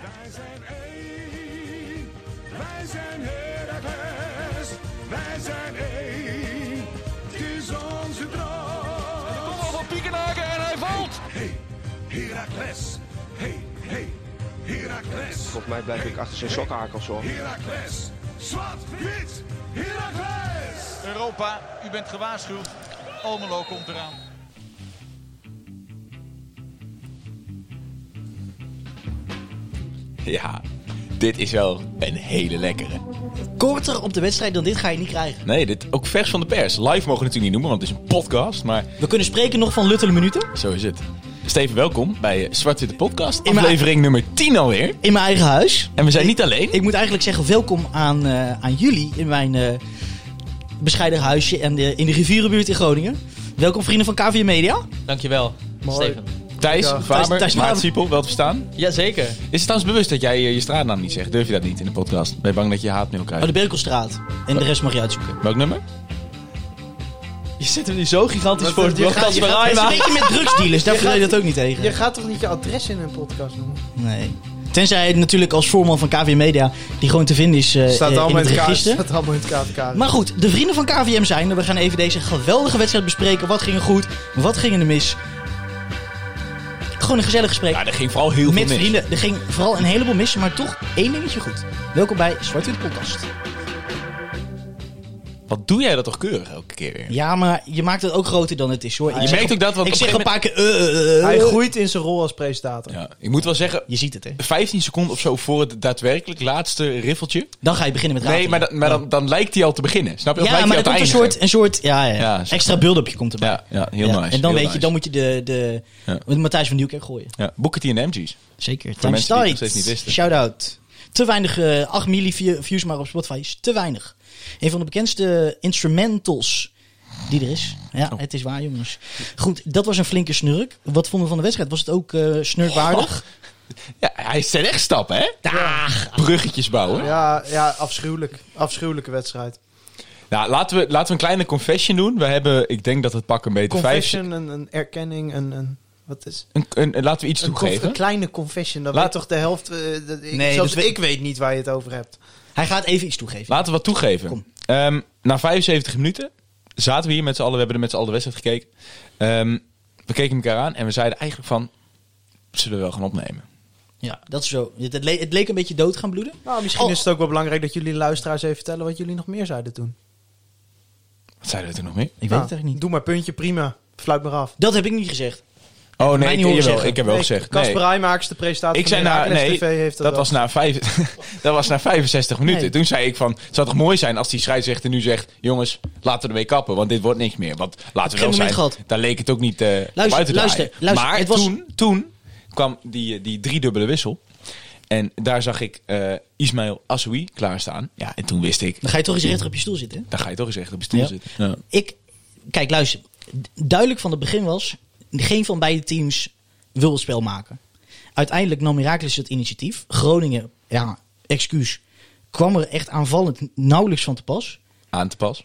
Wij zijn één. Wij zijn Heracles. Wij zijn één. Het is onze droom. Kopbal van Piekenhaken en hij valt! Hey, Heracles. Hey, hey, Heracles. Volgens mij blijf ik achter zijn sokkenhakels hoor. Heracles. Zwart, wit, Heracles. Europa, u bent gewaarschuwd. Almelo komt eraan. Ja, dit is wel een hele lekkere. Korter op de wedstrijd dan dit ga je niet krijgen. Nee, dit ook vers van de pers. Live mogen we het natuurlijk niet noemen, want het is een podcast. Maar We kunnen spreken nog van luttele minuten. zo is het. Steven, welkom bij eh, Zwart Witte Podcast, mijn- aflevering nummer 10 alweer. In mijn eigen huis. En we zijn niet alleen. Ik moet eigenlijk zeggen welkom aan, eh, aan jullie in mijn eh, bescheiden huisje en de, in de rivierenbuurt in Groningen. Welkom vrienden van KVM Media. Dankjewel, Mooi. Steven. Thijs, Ja. Faber, Thijs- Thijs Maart Faber. Siepel, wel te verstaan. Jazeker. Is het trouwens bewust dat jij eh, je straatnaam niet zegt? Durf je dat niet in de podcast? Ben je bang dat je haatmail Oh, krijgt? de Berkelstraat. En de rest mag je uitzoeken. Welk nummer? Je zit hem nu zo gigantisch Wat- voor het je gaat- broodkast je van gaat- Het is een Rijma. beetje met drugsdealers, daar Je kun je gaat- dat ook niet tegen. Je gaat toch niet je adres in een podcast noemen? Nee. Tenzij het natuurlijk als voorman van KVM Media, die gewoon te vinden is eh, eh, in het register. Staat allemaal in het KVK. Maar goed, de vrienden van KVM zijn er. We gaan even deze geweldige wedstrijd bespreken. Wat ging er goed? Wat ging er mis? Gewoon een gezellig gesprek. Ja, er ging vooral heel Met veel mis. vrienden. Er ging vooral een heleboel mis, maar toch één dingetje goed. Welkom bij Zwart-Wit Podcast. Wat doe jij dat toch keurig elke keer weer? Ja, maar je maakt het ook groter dan het is hoor. Je zeg merkt een- ook dat, want Ik op zeg een een paar keer. eh, eh, eh, Hij eh. groeit in zijn rol als presentator. Ja, ik moet wel zeggen, Je ziet het hè. 15 seconden of zo voor het daadwerkelijk laatste riffeltje. Dan ga je beginnen met Nee, ratelen. maar, dan- maar dan, dan lijkt hij al te beginnen. Snap je? Of Ja, lijkt maar hij er komt al een te soort, een soort ja, ja, Ja, zo. extra build-upje komt erbij. eindigen. Ja, ja heel Ja, nice. En dan heel weet je, nice. dan moet je de, de, Ja. met Matthijs van Nieuwkerk gooien. Ja, Booker T en MG's. mensen Zeker. die Time het nog Stight. steeds niet wisten. Shout-out. Te weinig, eh 8 milli view- views maar op Spotify is te weinig. Een van de bekendste instrumentals die er is. Ja, Oh. het is waar jongens. Goed, dat was een flinke snurk. Wat vonden we van de wedstrijd? Was het ook eh, snurkwaardig? Ja, hij is terecht stappen, hè? Daag. Bruggetjes bouwen. Ja, ja, afschuwelijk. Afschuwelijke wedstrijd. Nou, laten we, laten we een kleine confession doen. We hebben, ik denk dat het pak een beetje vijf... Confession, een, een erkenning, een, een... Wat is... Een, een- laten we iets Een, conf- toegeven. een kleine confession. Dan Laat- weet toch de helft... eh, dat, ik, Nee, zelfs dat we- ik weet niet waar je het over hebt. Hij gaat even iets toegeven. Laten we wat toegeven. Kom. Ehm, na 75 minuten zaten we hier met z'n allen. We hebben er met z'n allen de wedstrijd gekeken. Ehm, we keken elkaar aan en we zeiden eigenlijk van... Zullen we wel gaan opnemen? Ja, dat is zo. Het, het le- het leek een beetje dood gaan bloeden. Nou, misschien Oh. is het ook wel belangrijk dat jullie luisteraars even vertellen wat jullie nog meer zouden doen. Wat zeiden we toen nog meer? Ik Nou, weet het echt niet. Doe maar puntje, prima. Fluit maar af. Dat heb ik niet gezegd. Oh mij nee, niet ik, horen jawel, zeggen. ik heb wel Nee, gezegd. Casper nee. Rijmakers, de presentator Ik zei van na, Heracles nee, TV heeft dat, dat, wel. was nou- na vijf, dat was na 65 minuten. Nee. Toen zei ik van, het zou toch mooi zijn als die scheidsrechter nu zegt... jongens, laten we ermee kappen, want dit wordt niks meer. Want laten we wel moment zijn, gehad. daar leek het ook niet eh Luister, buiten te luister, draaien. luister, Maar het was- toen, toen kwam die, eh, die driedubbele wissel. En daar zag ik eh Ismail Assoui klaarstaan. Ja, en toen wist ik, Dan ga je toch eens rechter op je stoel zitten. hè? daar ga je toch eens echt op je stoel Ja. zitten. Ja. Ik, kijk, luister. D- Duidelijk van het begin was, geen van beide teams wil het spel maken. Uiteindelijk nam Heracles het initiatief. Groningen, ja, excuus, kwam er echt aanvallend nauwelijks van te pas. Aan te pas.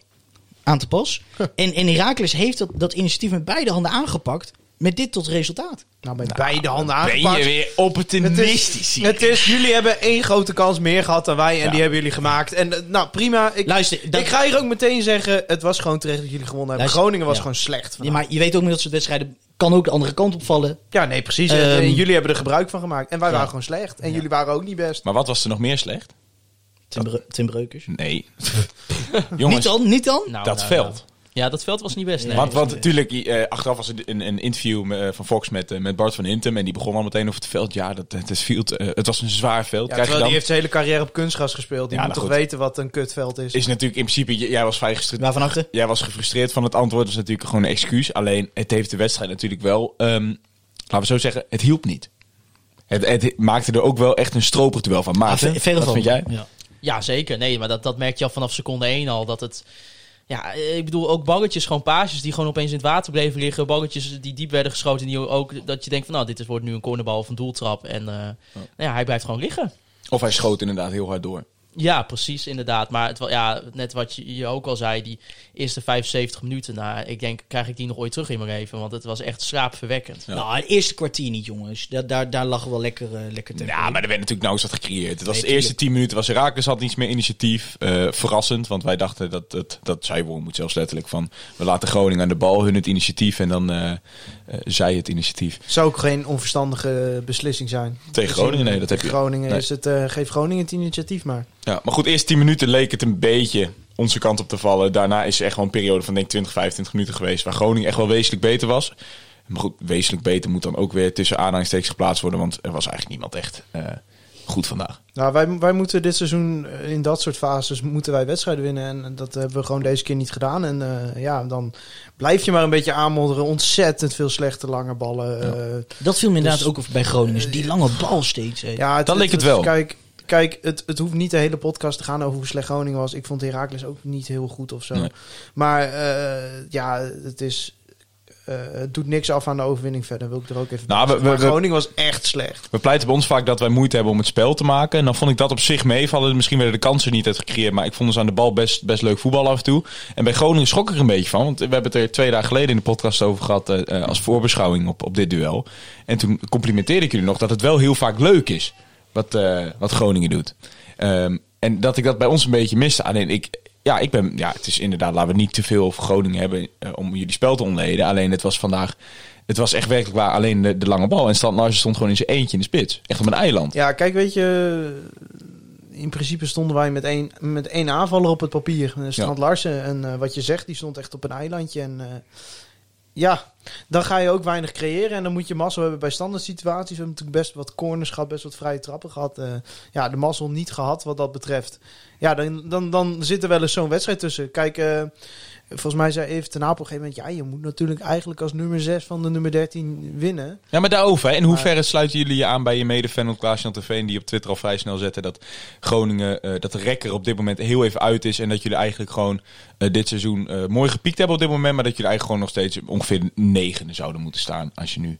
Aan te pas. En, en Heracles heeft dat, dat initiatief met beide handen aangepakt. Met dit tot resultaat. Nou, met beide Ben handen je aangepakt. weer Het opportunistisch is, hier. het is, jullie hebben één grote kans meer gehad dan wij en Ja. die hebben jullie gemaakt. En eh, nou, prima. Ik, Luister, dat- ik ga hier ook meteen zeggen, het was gewoon terecht dat jullie gewonnen hebben. Luister, Groningen was ja. gewoon slecht. Ja, vandaag. maar je weet ook met dat soort wedstrijden kan ook de andere kant opvallen. Ja, nee, precies. Ehm, En eh, jullie hebben er gebruik van gemaakt. En wij ja. waren gewoon slecht. En jullie waren ook niet best. Maar wat was er nog meer slecht? Tim, Breu- Tim Breukers. Nee. jongens, Niet dan, niet dan. Nou, dat nou, veld. nou. Ja, dat veld was niet best. nee. want want natuurlijk, eh, achteraf was een, een, een interview me- eh, van Fox met, eh, met Bart van Intem. En die begon al meteen over het veld. Ja, dat, het, is field, eh, het was een zwaar veld. Ja, Krijg je terwijl dan, die heeft zijn hele carrière op kunstgras gespeeld. Die Ja, moet nou toch goed. weten wat een kutveld is. Is natuurlijk in principe, j- jij was vrij gefrustreerd. Waarvan achter? Jij was gefrustreerd van het antwoord. Dat is natuurlijk gewoon een excuus. Alleen, het heeft de wedstrijd natuurlijk wel... ehm, laten we zo zeggen, het hielp niet. Het, het maakte er ook wel echt een stroper duel van. Ah, Maarten, ve- verre wat van. vind jij? Ja. Ja, zeker. Nee, maar dat, dat merk je al vanaf seconde 1 al. Dat het... Ja, eh, ik bedoel, ook balletjes, gewoon paasjes die gewoon opeens in het water bleven liggen. Balletjes die diep werden geschoten. Die ook, dat je denkt van, nou, dit is, wordt nu een cornerbal of een doeltrap. En eh, nou ja, hij blijft gewoon liggen. Of hij schoot inderdaad heel hard door. Ja, precies, inderdaad. Maar het, wa- ja, net wat je, je ook al zei, die eerste 75 minuten, nou, ik denk, krijg ik die nog ooit terug in mijn leven, want het was echt schraapverwekkend. Ja. Nou, het eerste kwartier niet, jongens. Daar, daar, daar lag wel lekker, eh, lekker tegen. Ja, maar er werd natuurlijk nauwelijks wat gecreëerd. Het was Nee, de eerste 10 minuten was Herakles had iets meer initiatief. Eh, verrassend, want wij dachten dat, dat, dat zij won, moet zelfs letterlijk van... We laten Groningen aan de bal, hun het initiatief en dan eh, eh, zij het initiatief. Zou ook geen onverstandige beslissing zijn. Tegen Groningen, nee, dat heb je. Groningen Nee. is het, eh, geef Groningen het initiatief maar. Ja, maar goed, eerst 10 minuten leek het een beetje onze kant op te vallen. Daarna is er echt wel een periode van denk ik 20, 25 minuten geweest... waar Groningen echt wel wezenlijk beter was. Maar goed, wezenlijk beter moet dan ook weer tussen aanhalingstekens geplaatst worden... want er was eigenlijk niemand echt eh, goed vandaag. Nou, wij, wij moeten dit seizoen eh, in dat soort fases moeten wij wedstrijden winnen. En eh, dat hebben we gewoon deze keer niet gedaan. En eh, ja, dan blijf je maar een beetje aanmodderen. Ontzettend veel slechte lange ballen. eh, Dat viel me inderdaad Dus- ook over bij Groningen. Dus Die lange bal steeds. hè. Ja, Dan leek het wel. Kijk, kijk het, het hoeft niet de hele podcast te gaan over hoe slecht Groningen was. Ik vond Heracles ook niet heel goed of zo. Nee. Maar eh, ja, het is... eh, het doet niks af aan de overwinning verder, wil ik er ook even bij Nou, we- zeggen. Maar we- we- Groningen was echt slecht. We pleiten bij ons vaak dat wij moeite hebben om het spel te maken. En dan vond ik dat op zich meevallen. Misschien werden de kansen niet uit gecreëerd. Maar ik vond ze aan de bal best, best leuk voetbal af en toe. En bij Groningen schrok ik er een beetje van. Want we hebben het er twee dagen geleden in de podcast over gehad. eh, eh, als voorbeschouwing op, op dit duel. En toen complimenteerde ik jullie nog dat het wel heel vaak leuk is. Wat, eh, wat Groningen doet. Ehm, en dat ik dat bij ons een beetje miste. Alleen ik. Ja, ik ben, ja, het is inderdaad, laten we niet te veel over Groningen hebben eh, om jullie spel te ontleden. Alleen het was vandaag, het was echt werkelijk waar alleen de, de lange bal. En Stant Larsen stond gewoon in zijn eentje in de spits. Echt op een eiland. Ja, kijk, weet je... In principe stonden wij met één, met één aanvaller op het papier. Eh, Strand Larsen. En eh, wat je zegt, die stond echt op een eilandje. En eh, ja, dan ga je ook weinig creëren. En dan moet je mazzel hebben bij standaard situaties. We hebben natuurlijk best wat corners gehad, best wat vrije trappen gehad. Eh, ja, de mazzel niet gehad wat dat betreft. Ja, dan, dan, dan zit er wel eens zo'n wedstrijd tussen. Kijk, eh, volgens mij zei even ten Apel op een gegeven moment... Ja, je moet natuurlijk eigenlijk als nummer 6 van de nummer 13 winnen. Ja, maar daarover. Hè. In hoeverre Maar- sluiten jullie je aan bij je mede-fan Klaas-Jan Terveen... die op Twitter al vrij snel zette dat Groningen... eh, dat de rekker op dit moment heel even uit is... en dat jullie eigenlijk gewoon eh, dit seizoen eh, mooi gepiekt hebben op dit moment... maar dat jullie eigenlijk gewoon nog steeds ongeveer negende zouden moeten staan... als je nu...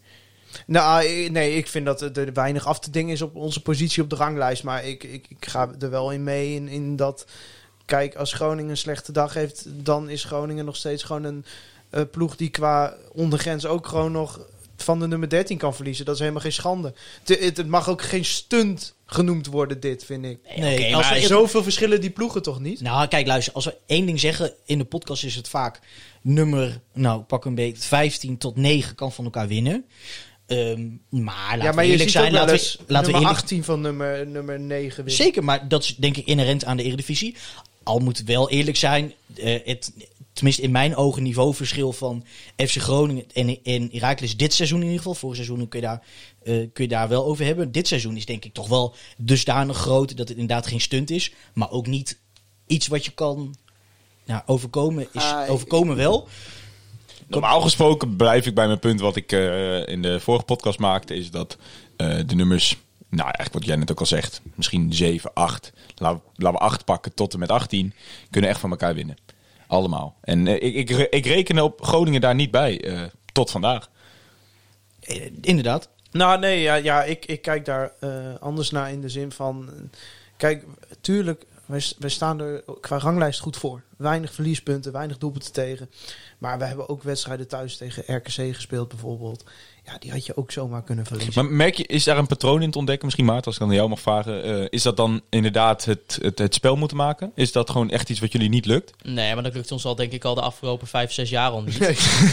Nou, eh, nee, ik vind dat er weinig af te dingen is op onze positie op de ranglijst. Maar ik, ik, ik ga er wel in mee in, in dat... Kijk, als Groningen een slechte dag heeft... dan is Groningen nog steeds gewoon een eh, ploeg... die qua ondergrens ook gewoon nog van de nummer 13 kan verliezen. Dat is helemaal geen schande. Het, het, het mag ook geen stunt genoemd worden, dit, vind ik. Nee, oké, als maar we- Zoveel verschillen die ploegen toch niet? Nou, kijk, luister. Als we één ding zeggen in de podcast is het vaak nummer, nou, pak een beetje 15 tot 9 kan van elkaar winnen. Ehm, maar laten ja, maar we je eerlijk ziet zijn. ook wel Laten eens we, laten we nummer eerlijk 18 van nummer, nummer 9 winnen. Zeker, maar dat is denk ik inherent aan de Eredivisie. Al moet het wel eerlijk zijn, eh, het, tenminste in mijn ogen niveauverschil van FC Groningen en, en Heracles dit seizoen in ieder geval. Vorig seizoen kun je, daar, eh, kun je daar wel over hebben. Dit seizoen is denk ik toch wel dusdanig groot dat het inderdaad geen stunt is. Maar ook niet iets wat je kan nou, overkomen. Is, Ah, ik- overkomen wel. Normaal gesproken blijf ik bij mijn punt wat ik eh, in de vorige podcast maakte, is dat eh, de nummers, nou eigenlijk wat jij net ook al zegt, misschien 7, 8, laten we- laten we 8 pakken tot en met 18, kunnen echt van elkaar winnen. Allemaal. En eh, ik, ik, ik reken op Groningen daar niet bij, eh, tot vandaag. Eh, Inderdaad. Nou, nee, ja, ja ik, ik kijk daar eh, anders naar in de zin van... eh, Kijk, tuurlijk, wij, s- wij staan er qua ranglijst goed voor. Weinig verliespunten, weinig doelpunten tegen. Maar we hebben ook wedstrijden thuis tegen RKC gespeeld bijvoorbeeld. Ja, die had je ook zomaar kunnen verliezen. Maar merk je, is daar een patroon in te ontdekken? Misschien Maarten, als ik aan jou mag vragen, eh, is dat dan inderdaad het, het, het spel moeten maken? Is dat gewoon echt iets wat jullie niet lukt? Nee, maar dat lukt ons al denk ik al de afgelopen vijf, zes jaar al niet.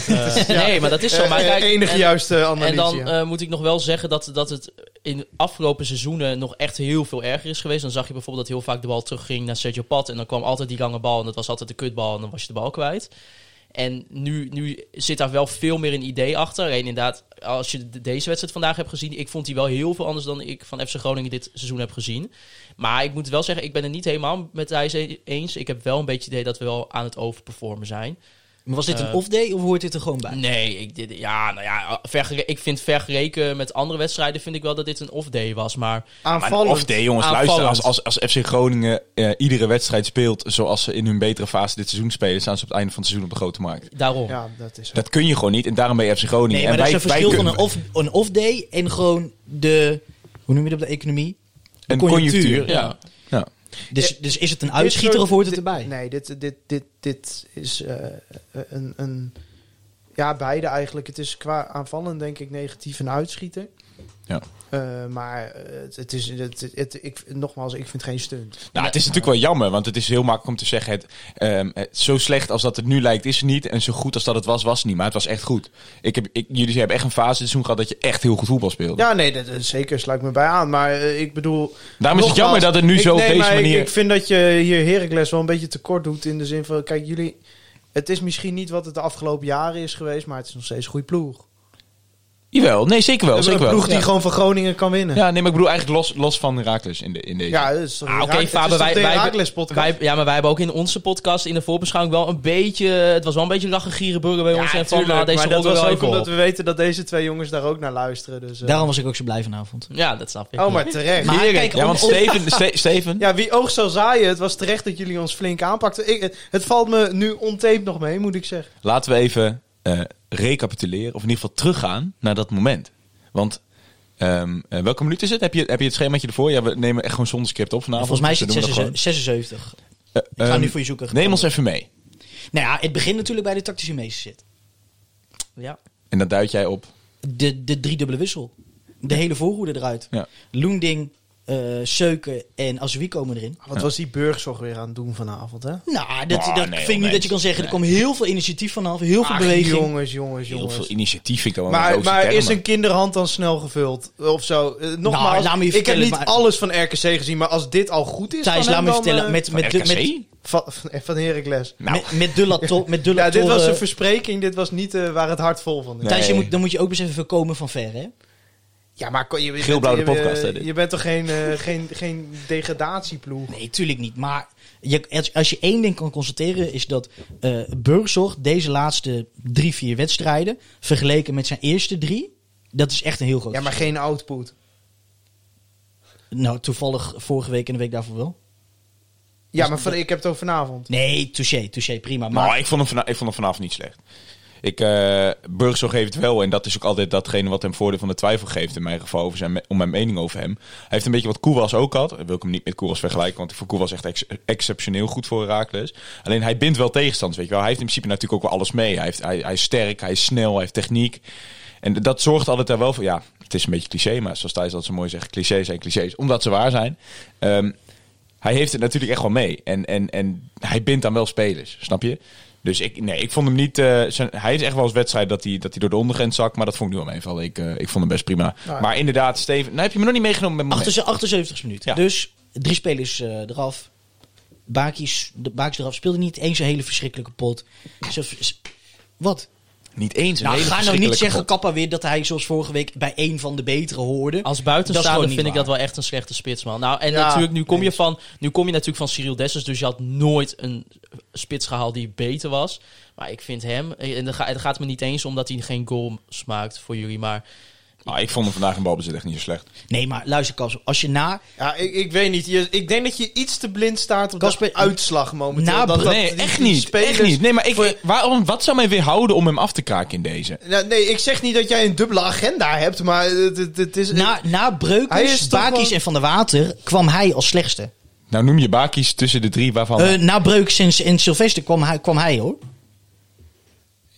Eh, nee, maar dat is zo. Maar Eh, kijk, enige en- juiste analyse. En dan ja. eh, moet ik nog wel zeggen dat, dat het in afgelopen seizoenen nog echt heel veel erger is geweest. Dan zag je bijvoorbeeld dat heel vaak de bal terugging naar Sergio Pat. En dan kwam altijd die lange bal en dat was altijd de kutbal en dan was je de bal kwijt. En nu, nu zit daar wel veel meer een idee achter. En inderdaad, als je de- deze wedstrijd vandaag hebt gezien, ik vond die wel heel veel anders dan ik van FC Groningen dit seizoen heb gezien. Maar ik moet wel zeggen, ik ben het niet helemaal met Thijs e- eens. Ik heb wel een beetje het idee dat we wel aan het overperformen zijn. Maar was dit een Eh, off-day of hoort dit er gewoon bij? Nee, ik, dit- ja, nou ja, vergere- ik vind vergeleken met andere wedstrijden vind ik wel dat dit een off-day was. Maar Maar een Aanvallend. off day, jongens, luister. Als, Aanvallend. als, als FC Groningen eh, iedere wedstrijd speelt zoals ze in hun betere fase dit seizoen spelen, staan ze op het einde van het seizoen op de grote markt. daarom. Ja, dat is zo. Dat kun je gewoon niet en daarom ben je FC Groningen. Nee, maar en er is een verschil van kunnen- een off, een off day en gewoon de, hoe noem je dat op de economie? De een conjunctuur. Ja. Ja. Ja. Dus, dus is het een uitschieter of hoort het erbij? Nee, dit, dit, dit, dit is eh, een, een... Ja, beide eigenlijk. Het is qua aanvallen denk ik negatief een uitschieter. Ja. Eh, maar het, het is... Het, het, ik, nogmaals, ik vind het geen stunt. Nou, het is natuurlijk wel jammer, want het is heel makkelijk om te zeggen... Het, ehm, het- zo slecht als dat het nu lijkt is het niet. En zo goed als dat het was, was het niet. Maar het was echt goed. Ik heb, ik, jullie hebben echt een fase dit seizoen gehad dat je echt heel goed voetbal speelde. Ja, nee, dat, dat zeker sluit me bij aan. Maar eh, ik bedoel... Daarom is het Nogmaals, jammer dat het nu ik- zo op nee, deze maar ik- manier... Ik, vind dat je hier Heracles wel een beetje tekort doet in de zin van... Kijk, jullie... Het is misschien niet wat het de afgelopen jaren is geweest, maar het is nog steeds een goede ploeg. Jawel, nee, zeker wel. een Zeker wel. ploeg die ja. gewoon van Groningen kan winnen. Ja, Ja, nee, maar ik bedoel eigenlijk los, los van Herakles in, de, in deze. dat is toch Ah, Oké, Herak- het Faber, is toch wij, de wij, Heracles podcast. wij- ja, maar wij hebben ook in onze podcast in de voorbeschouwing wel een beetje... Het was wel een beetje lachen gieren burger bij ons. En van, nou, deze maar dat rolt er was wel ook even op. omdat we weten dat deze twee jongens daar ook naar luisteren. Dus, eh. Daarom was ik ook zo blij vanavond. Ja, dat snap ik. Oh, maar terecht. Maar Erik, kijk, ja, om- want om- Steven, Ste- Steven ja, wie oog zal zaaien. Het was terecht dat jullie ons flink aanpakten. Ik, het- het valt me nu ontape nog mee, moet ik zeggen. laten we even eh, recapituleren. Of in ieder geval teruggaan naar dat moment. Want ehm, eh, welke minuut is het? Heb je, heb je het schemaatje ervoor? Ja, we nemen echt gewoon zonder script op vanavond. Volgens mij dus is het dan doen we dat 76. 76. gewoon. Ik ga Ehm, nu voor je zoeken. Neem ons even mee. Nou ja, het begint natuurlijk bij de tactische meester zit. Ja. En dan duid jij op. De, de driedubbele wissel. De hele voorhoede eruit. Ja. Loending, eh, Seuken en Azui komen erin. Ah, Wat was die burgzorg weer aan het doen vanavond, hè? Nou, dat, Oh, nee, dat vind ik niet oneens. dat je kan zeggen. Er kwam heel veel initiatief vanaf. Heel veel Ach, beweging. jongens, jongens, Heel jongens. veel initiatief vind ik dan wel een Maar, roze maar term, is maar- een kinderhand dan snel gevuld? Of zo? Eh, nogmaals, laat me je ik heb vertellen, niet maar- alles van RKC gezien, maar als dit al goed is Thijs, van laat hem, me je dan, vertellen. eh, met, met, Van de- RKC? met, Van, van, van Heracles. Nou. met, met de lato- met de Ja, dit was latoren- een verspreking, dit was niet eh, waar het hart vol van is. Nee. Thijs, je moet, dan moet je ook eens even voorkomen van ver, hè? Ja, maar kon- je, je Geelblauwe bent- je- podcast, hè, Je, dit. je bent toch geen, eh, geen, geen degradatieploeg? Nee, tuurlijk niet. Maar je, als- als je één ding kan constateren is dat eh Burgzorg deze laatste drie, vier wedstrijden... vergeleken met zijn eerste drie... Dat is echt een heel groot Ja, maar geen output. verschil. Nou, toevallig vorige week en de week daarvoor wel. Ja, maar van, ik heb het over vanavond. Nee, touché, touché, prima. Maar Nou, ik vond hem, vana- ik vond hem vanavond niet slecht. Ik, eh Burgzorg heeft wel, en dat is ook altijd datgene wat hem voordeel van de twijfel geeft, in mijn geval, over zijn, me- om mijn mening over hem. Hij heeft een beetje wat Koewas ook had. Wil ik hem niet met Koewas vergelijken, want ik vond Koewas echt ex- exceptioneel goed voor Herakles. Alleen hij bindt wel tegenstanders, weet je wel. Hij heeft in principe natuurlijk ook wel alles mee. Hij, heeft, hij, hij is sterk, hij is snel, hij heeft techniek. En dat zorgt altijd daar wel voor. Ja, het is een beetje cliché, maar zoals Thijs dat zo mooi zegt, clichés zijn clichés, omdat ze waar zijn. Ehm, hij heeft het natuurlijk echt wel mee. En, en, en hij bindt dan wel spelers, snap je? Dus ik, nee, ik vond hem niet... eh, zijn, hij is echt wel eens wedstrijd dat hij, dat hij door de ondergrens zakt. Maar dat vond ik nu wel meevallen. Ik, eh, ik vond hem best prima. ja. Maar inderdaad, Steven... Nou heb je me nog niet meegenomen met mijn... 78, 78 minuten. Ja. Dus drie spelers eh, eraf. Bakies, de Bakies eraf speelde niet eens een hele verschrikkelijke pot. Zo- s- wat? Niet eens een Nou, hele ga nou niet verschrikkelijke zeggen, pot. Kappa, weer dat hij zoals vorige week bij één van de betere hoorde. Als Dat is gewoon buitenstaander niet vind ik waar. dat wel echt een slechte spits, man. Nou, en Ja, natuurlijk, nu kom, je van, nu kom je natuurlijk van Cyril Dessers, dus je had nooit een spits gehaald die beter was. Maar ik vind hem, en dan ga- het gaat me niet eens om dat hij geen goals maakt voor jullie, maar Ah, ik vond hem vandaag in balbezit echt niet zo slecht. Nee, maar luister, Kas, als je na Ja, ik, ik weet niet. Je- ik denk dat je iets te blind staat op Kasper, de uitslag momenteel. na- dat, dat nee, die- echt die niet. Echt niet. Nee, maar ik, voor- waarom, wat zou mij weerhouden om hem af te kraken in deze? Nou, nee, ik zeg niet dat jij een dubbele agenda hebt, maar het, het, het is... Na, na Hij is Breukers, toch Bakies wel- en Van der Water kwam hij als slechtste. Nou noem je Bakies tussen de drie waarvan... Eh, na Breukers en, en Sylvester kwam hij, kwam hij hoor.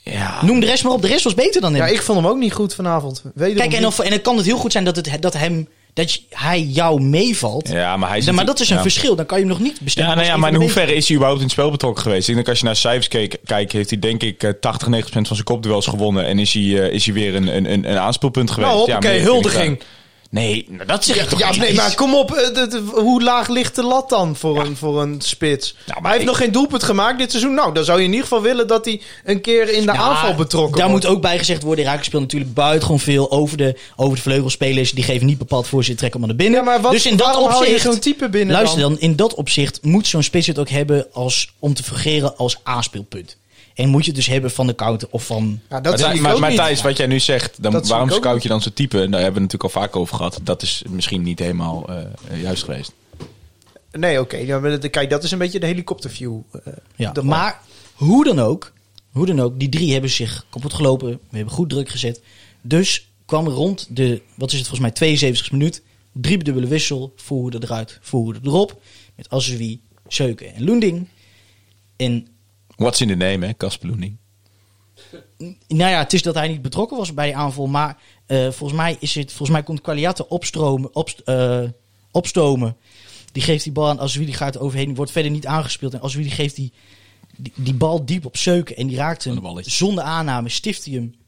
ja. Noem de rest maar op. De rest was beter dan hem. ja, ik vond hem ook niet goed vanavond. Wederom Kijk, en, niet. of, en dan kan het heel goed zijn dat, het, dat, hem, dat je- hij jou meevalt. ja, maar hij is... Dan- maar dat is een ja. verschil. Dan kan je hem nog niet bestemmen. Ja, nou als ja, een maar in van de hoeverre is hij überhaupt in het spel betrokken geweest? Ik denk als je naar cijfers keek, kijkt, heeft hij denk ik eh, 80, 90 van zijn kopduels gewonnen. En is hij, eh, is hij weer een, een, een, een aanspeelpunt geweest. Nou, hoppakee, meer kun je niet huldiging. zeggen. Nee, nou, dat zeg ik toch Ja, niet. nee, maar kom op. eh, dat- hoe laag ligt de lat dan voor, een, voor een spits? Nou, maar hij heeft ik- nog geen doelpunt gemaakt dit seizoen. Nou, dan zou je in ieder geval willen dat hij een keer in de Nou, aanval betrokken Daar wordt. moet ook bij gezegd worden. Irak speelt natuurlijk buitengewoon veel over de, over de vleugelspelers. Die geven niet bepaald voor ze trekken hem naar binnen. Ja, maar wat, dus in dat waarom opzicht... haal je zo'n type binnen Luister dan? dan, in dat opzicht moet zo'n spits het ook hebben als, om te fungeren als aanspeelpunt. En moet je het dus hebben van de counter of van... Ja, Maar Nou, dat Thij- zie ik maar, ook maar niet. Thijs, wat jij nu zegt, dan, Dat zie waarom ik ook scout niet. je dan zo'n type? En Daar hebben we het natuurlijk al vaak over gehad. Dat is misschien niet helemaal eh, eh, juist geweest. Nee, oké. ja, maar dat- Kijk, dat is een beetje de helikopterview. eh, Ja, dat- maar hoe dan ook, hoe dan ook, die drie hebben zich kapot gelopen. We hebben goed druk gezet. Dus kwam rond de, wat is het volgens mij, 72 minuut, Drie dubbele wissel, voorhoede eruit, voorhoede erop. Met Azerwi, Zeuken en Loending. En What's in the name, hè, Kasper Loening. nou ja, het is dat hij niet betrokken was bij die aanval. Maar eh, volgens, mij is het, volgens mij komt Qualiata opstromen, opst- eh, opstomen. Die geeft die bal aan Azwi, die gaat er overheen. Die wordt verder niet aangespeeld. En Azwi die geeft die, die, die bal diep op zeuken. En die raakt Een hem balletje. zonder aanname. Stift hij hem.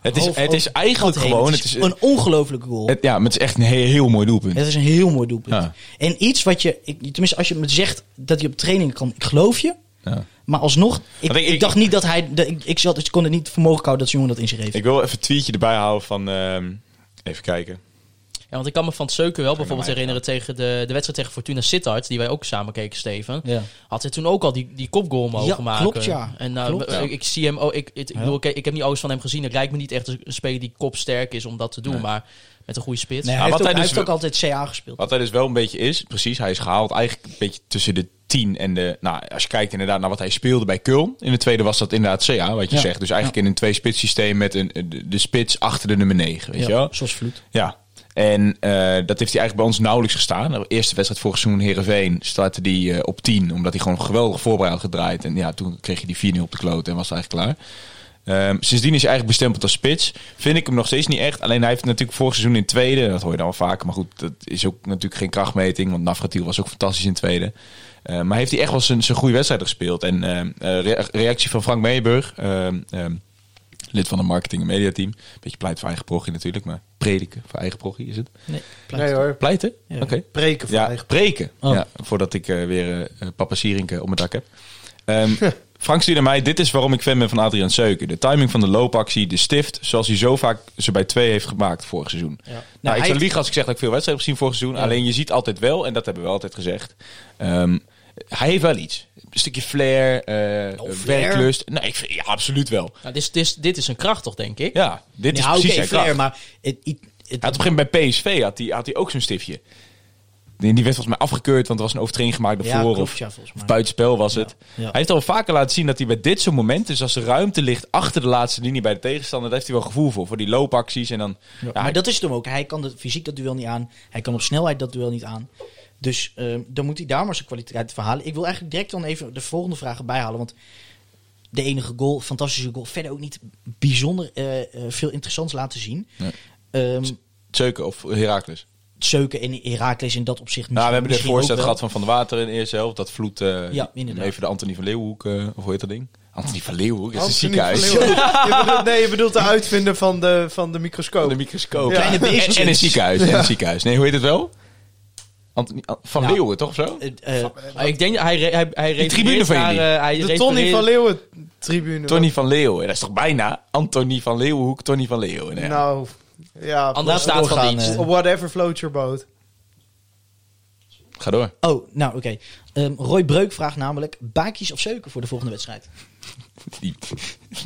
Het is, half het is over eigenlijk de lat heen. gewoon... Het is een ongelofelijke goal. het- ja, maar het is echt een heel, heel mooi doelpunt. Het is een heel mooi doelpunt. Ja. En iets wat je, ik, tenminste als je me zegt dat hij op training kan, ik geloof je. Ja. Maar alsnog, ik, Want ik- ik, ik- dacht niet dat hij, dat, ik, ik, zat, ik kon het niet voor mogelijk houden dat zo'n jongen dat in zich heeft. Ik wil even een tweetje erbij halen van... ehm, even kijken. Ja, want ik kan me van Seuken wel bijvoorbeeld mij, herinneren tegen de, de wedstrijd tegen Fortuna Sittard, die wij ook samen keken, Steven. Ja. Had hij toen ook al die, die kopgoal mogen Ja, maken. klopt, ja. En nou, Klopt. ik- Ik, zie hem, oh, ik, het- ik, Ja. bedoel, ik, ik heb niet alles van hem gezien. Het lijkt me niet echt een speler die kopsterk is om dat te doen, maar met een goede spits. Nee, Ja, hij wat heeft, ook, hij hij dus heeft ook altijd CA gespeeld. Wat hij dus wel een beetje is, precies, hij is gehaald eigenlijk een beetje tussen de 10 en de... Nou, als je kijkt inderdaad naar wat hij speelde bij Köln. In de tweede was dat inderdaad CA, wat je Ja. zegt. Dus eigenlijk in een twee-spits systeem met een, de, de spits achter de nummer 9, weet je ja, wel? zoals Vloed. Ja. En eh, dat heeft hij eigenlijk bij ons nauwelijks gestaan. De eerste wedstrijd vorig seizoen, Heerenveen, startte hij eh, op 10. Omdat hij gewoon geweldig voorbij had gedraaid. En ja, toen kreeg je die 4-0 op de kloot en was het eigenlijk klaar. Ehm, sindsdien is hij eigenlijk bestempeld als spits. Vind ik hem nog steeds niet echt. Alleen hij heeft natuurlijk vorig seizoen in tweede. Dat hoor je dan wel vaker. Maar goed, dat is ook natuurlijk geen krachtmeting. Want Navratil was ook fantastisch in tweede. Eh, maar heeft hij echt wel zijn, zijn goede wedstrijd gespeeld. En ehm, eh, re- reactie van Frank Meeburg. ehm, ehm, lid van het marketing- en mediateam. Beetje pleit voor eigen progie natuurlijk, maar prediken voor eigen progie is het. Nee, Nee hoor, Pleiten? Ja. Oké. preken van Ja, eigen- preken. Oh. Ja, voordat ik eh, weer eh, papa Sierenke op mijn dak heb. Ehm Frank stuurde mij, dit is waarom ik fan ben van Adriaan Seuken. De timing van de loopactie, de stift, zoals hij zo vaak ze bij twee heeft gemaakt vorig seizoen. Nou, hij ik zou heeft- liegen als ik zeg dat ik veel wedstrijden heb gezien vorig seizoen. Alleen je ziet altijd wel, en dat hebben we altijd gezegd, ehm, hij heeft wel iets. Een stukje flair, eh, flair. werklust. Nee, ik vind, ja, absoluut wel. Nou, dit, is, dit, is, dit is een kracht toch, denk ik? Ja, dit is Ja, precies oké, zijn kracht. flair, maar het, het, het- Hij had op een gegeven moment bij PSV had hij, had hij ook zo'n stiftje. Die die werd volgens mij afgekeurd, want er was een overtreding gemaakt Ja, daarvoor. klopt, of, ja, volgens mij. of buitenspel was het. ja. Hij heeft al vaker laten zien dat hij bij dit soort momenten, dus als er ruimte ligt achter de laatste linie bij de tegenstander, daar heeft hij wel gevoel voor. Voor die loopacties en dan... Ja, maar dat is het hem ook. Hij kan de, fysiek dat duel niet aan. Hij kan op snelheid dat duel niet aan. Dus eh, dan moet hij daar maar zijn kwaliteit van halen. Ik wil eigenlijk direct dan even de volgende vragen bijhalen. Want de enige goal, fantastische goal. Verder ook niet bijzonder eh, eh, veel interessants laten zien. Nee. Ehm, Zeuken of Herakles. Zeuken en Herakles in dat opzicht Nou, we hebben de misschien ook voorzet wel. gehad van Van der Water in de eerste helft. Dat vloed eh, Ja, inderdaad. even de Anthony van Leeuwenhoek, eh, of hoe heet dat ding? Anthony van Leeuwenhoek is een Anthony ziekenhuis. van Leeuwen. Je bedoelt- nee, je bedoelt de uitvinder van de, van de microscoop. De microscoop. Ja. Kleine En, beestjes. en een ziekenhuis. En een ziekenhuis. Nee, hoe heet het wel? Anthony, van Ja. Leeuwen, toch of zo? Eh, eh, Ah, ik denk, hij, re- hij, hij refereert tribune naar, van eh, hij de refereert- Tony van Leeuwen tribune. Tony van Leeuwen. Dat is toch bijna Anthony van Leeuwenhoek, Tony van Leeuwen. hè? Nou, ja. Andere Laten we staat van doorgaan, dienst. eh. Whatever floats your boat. Ga door. eh. oh, nou oké. Ehm, Roy Breuk vraagt namelijk... Baakjes of Zeuken voor de volgende wedstrijd? Die,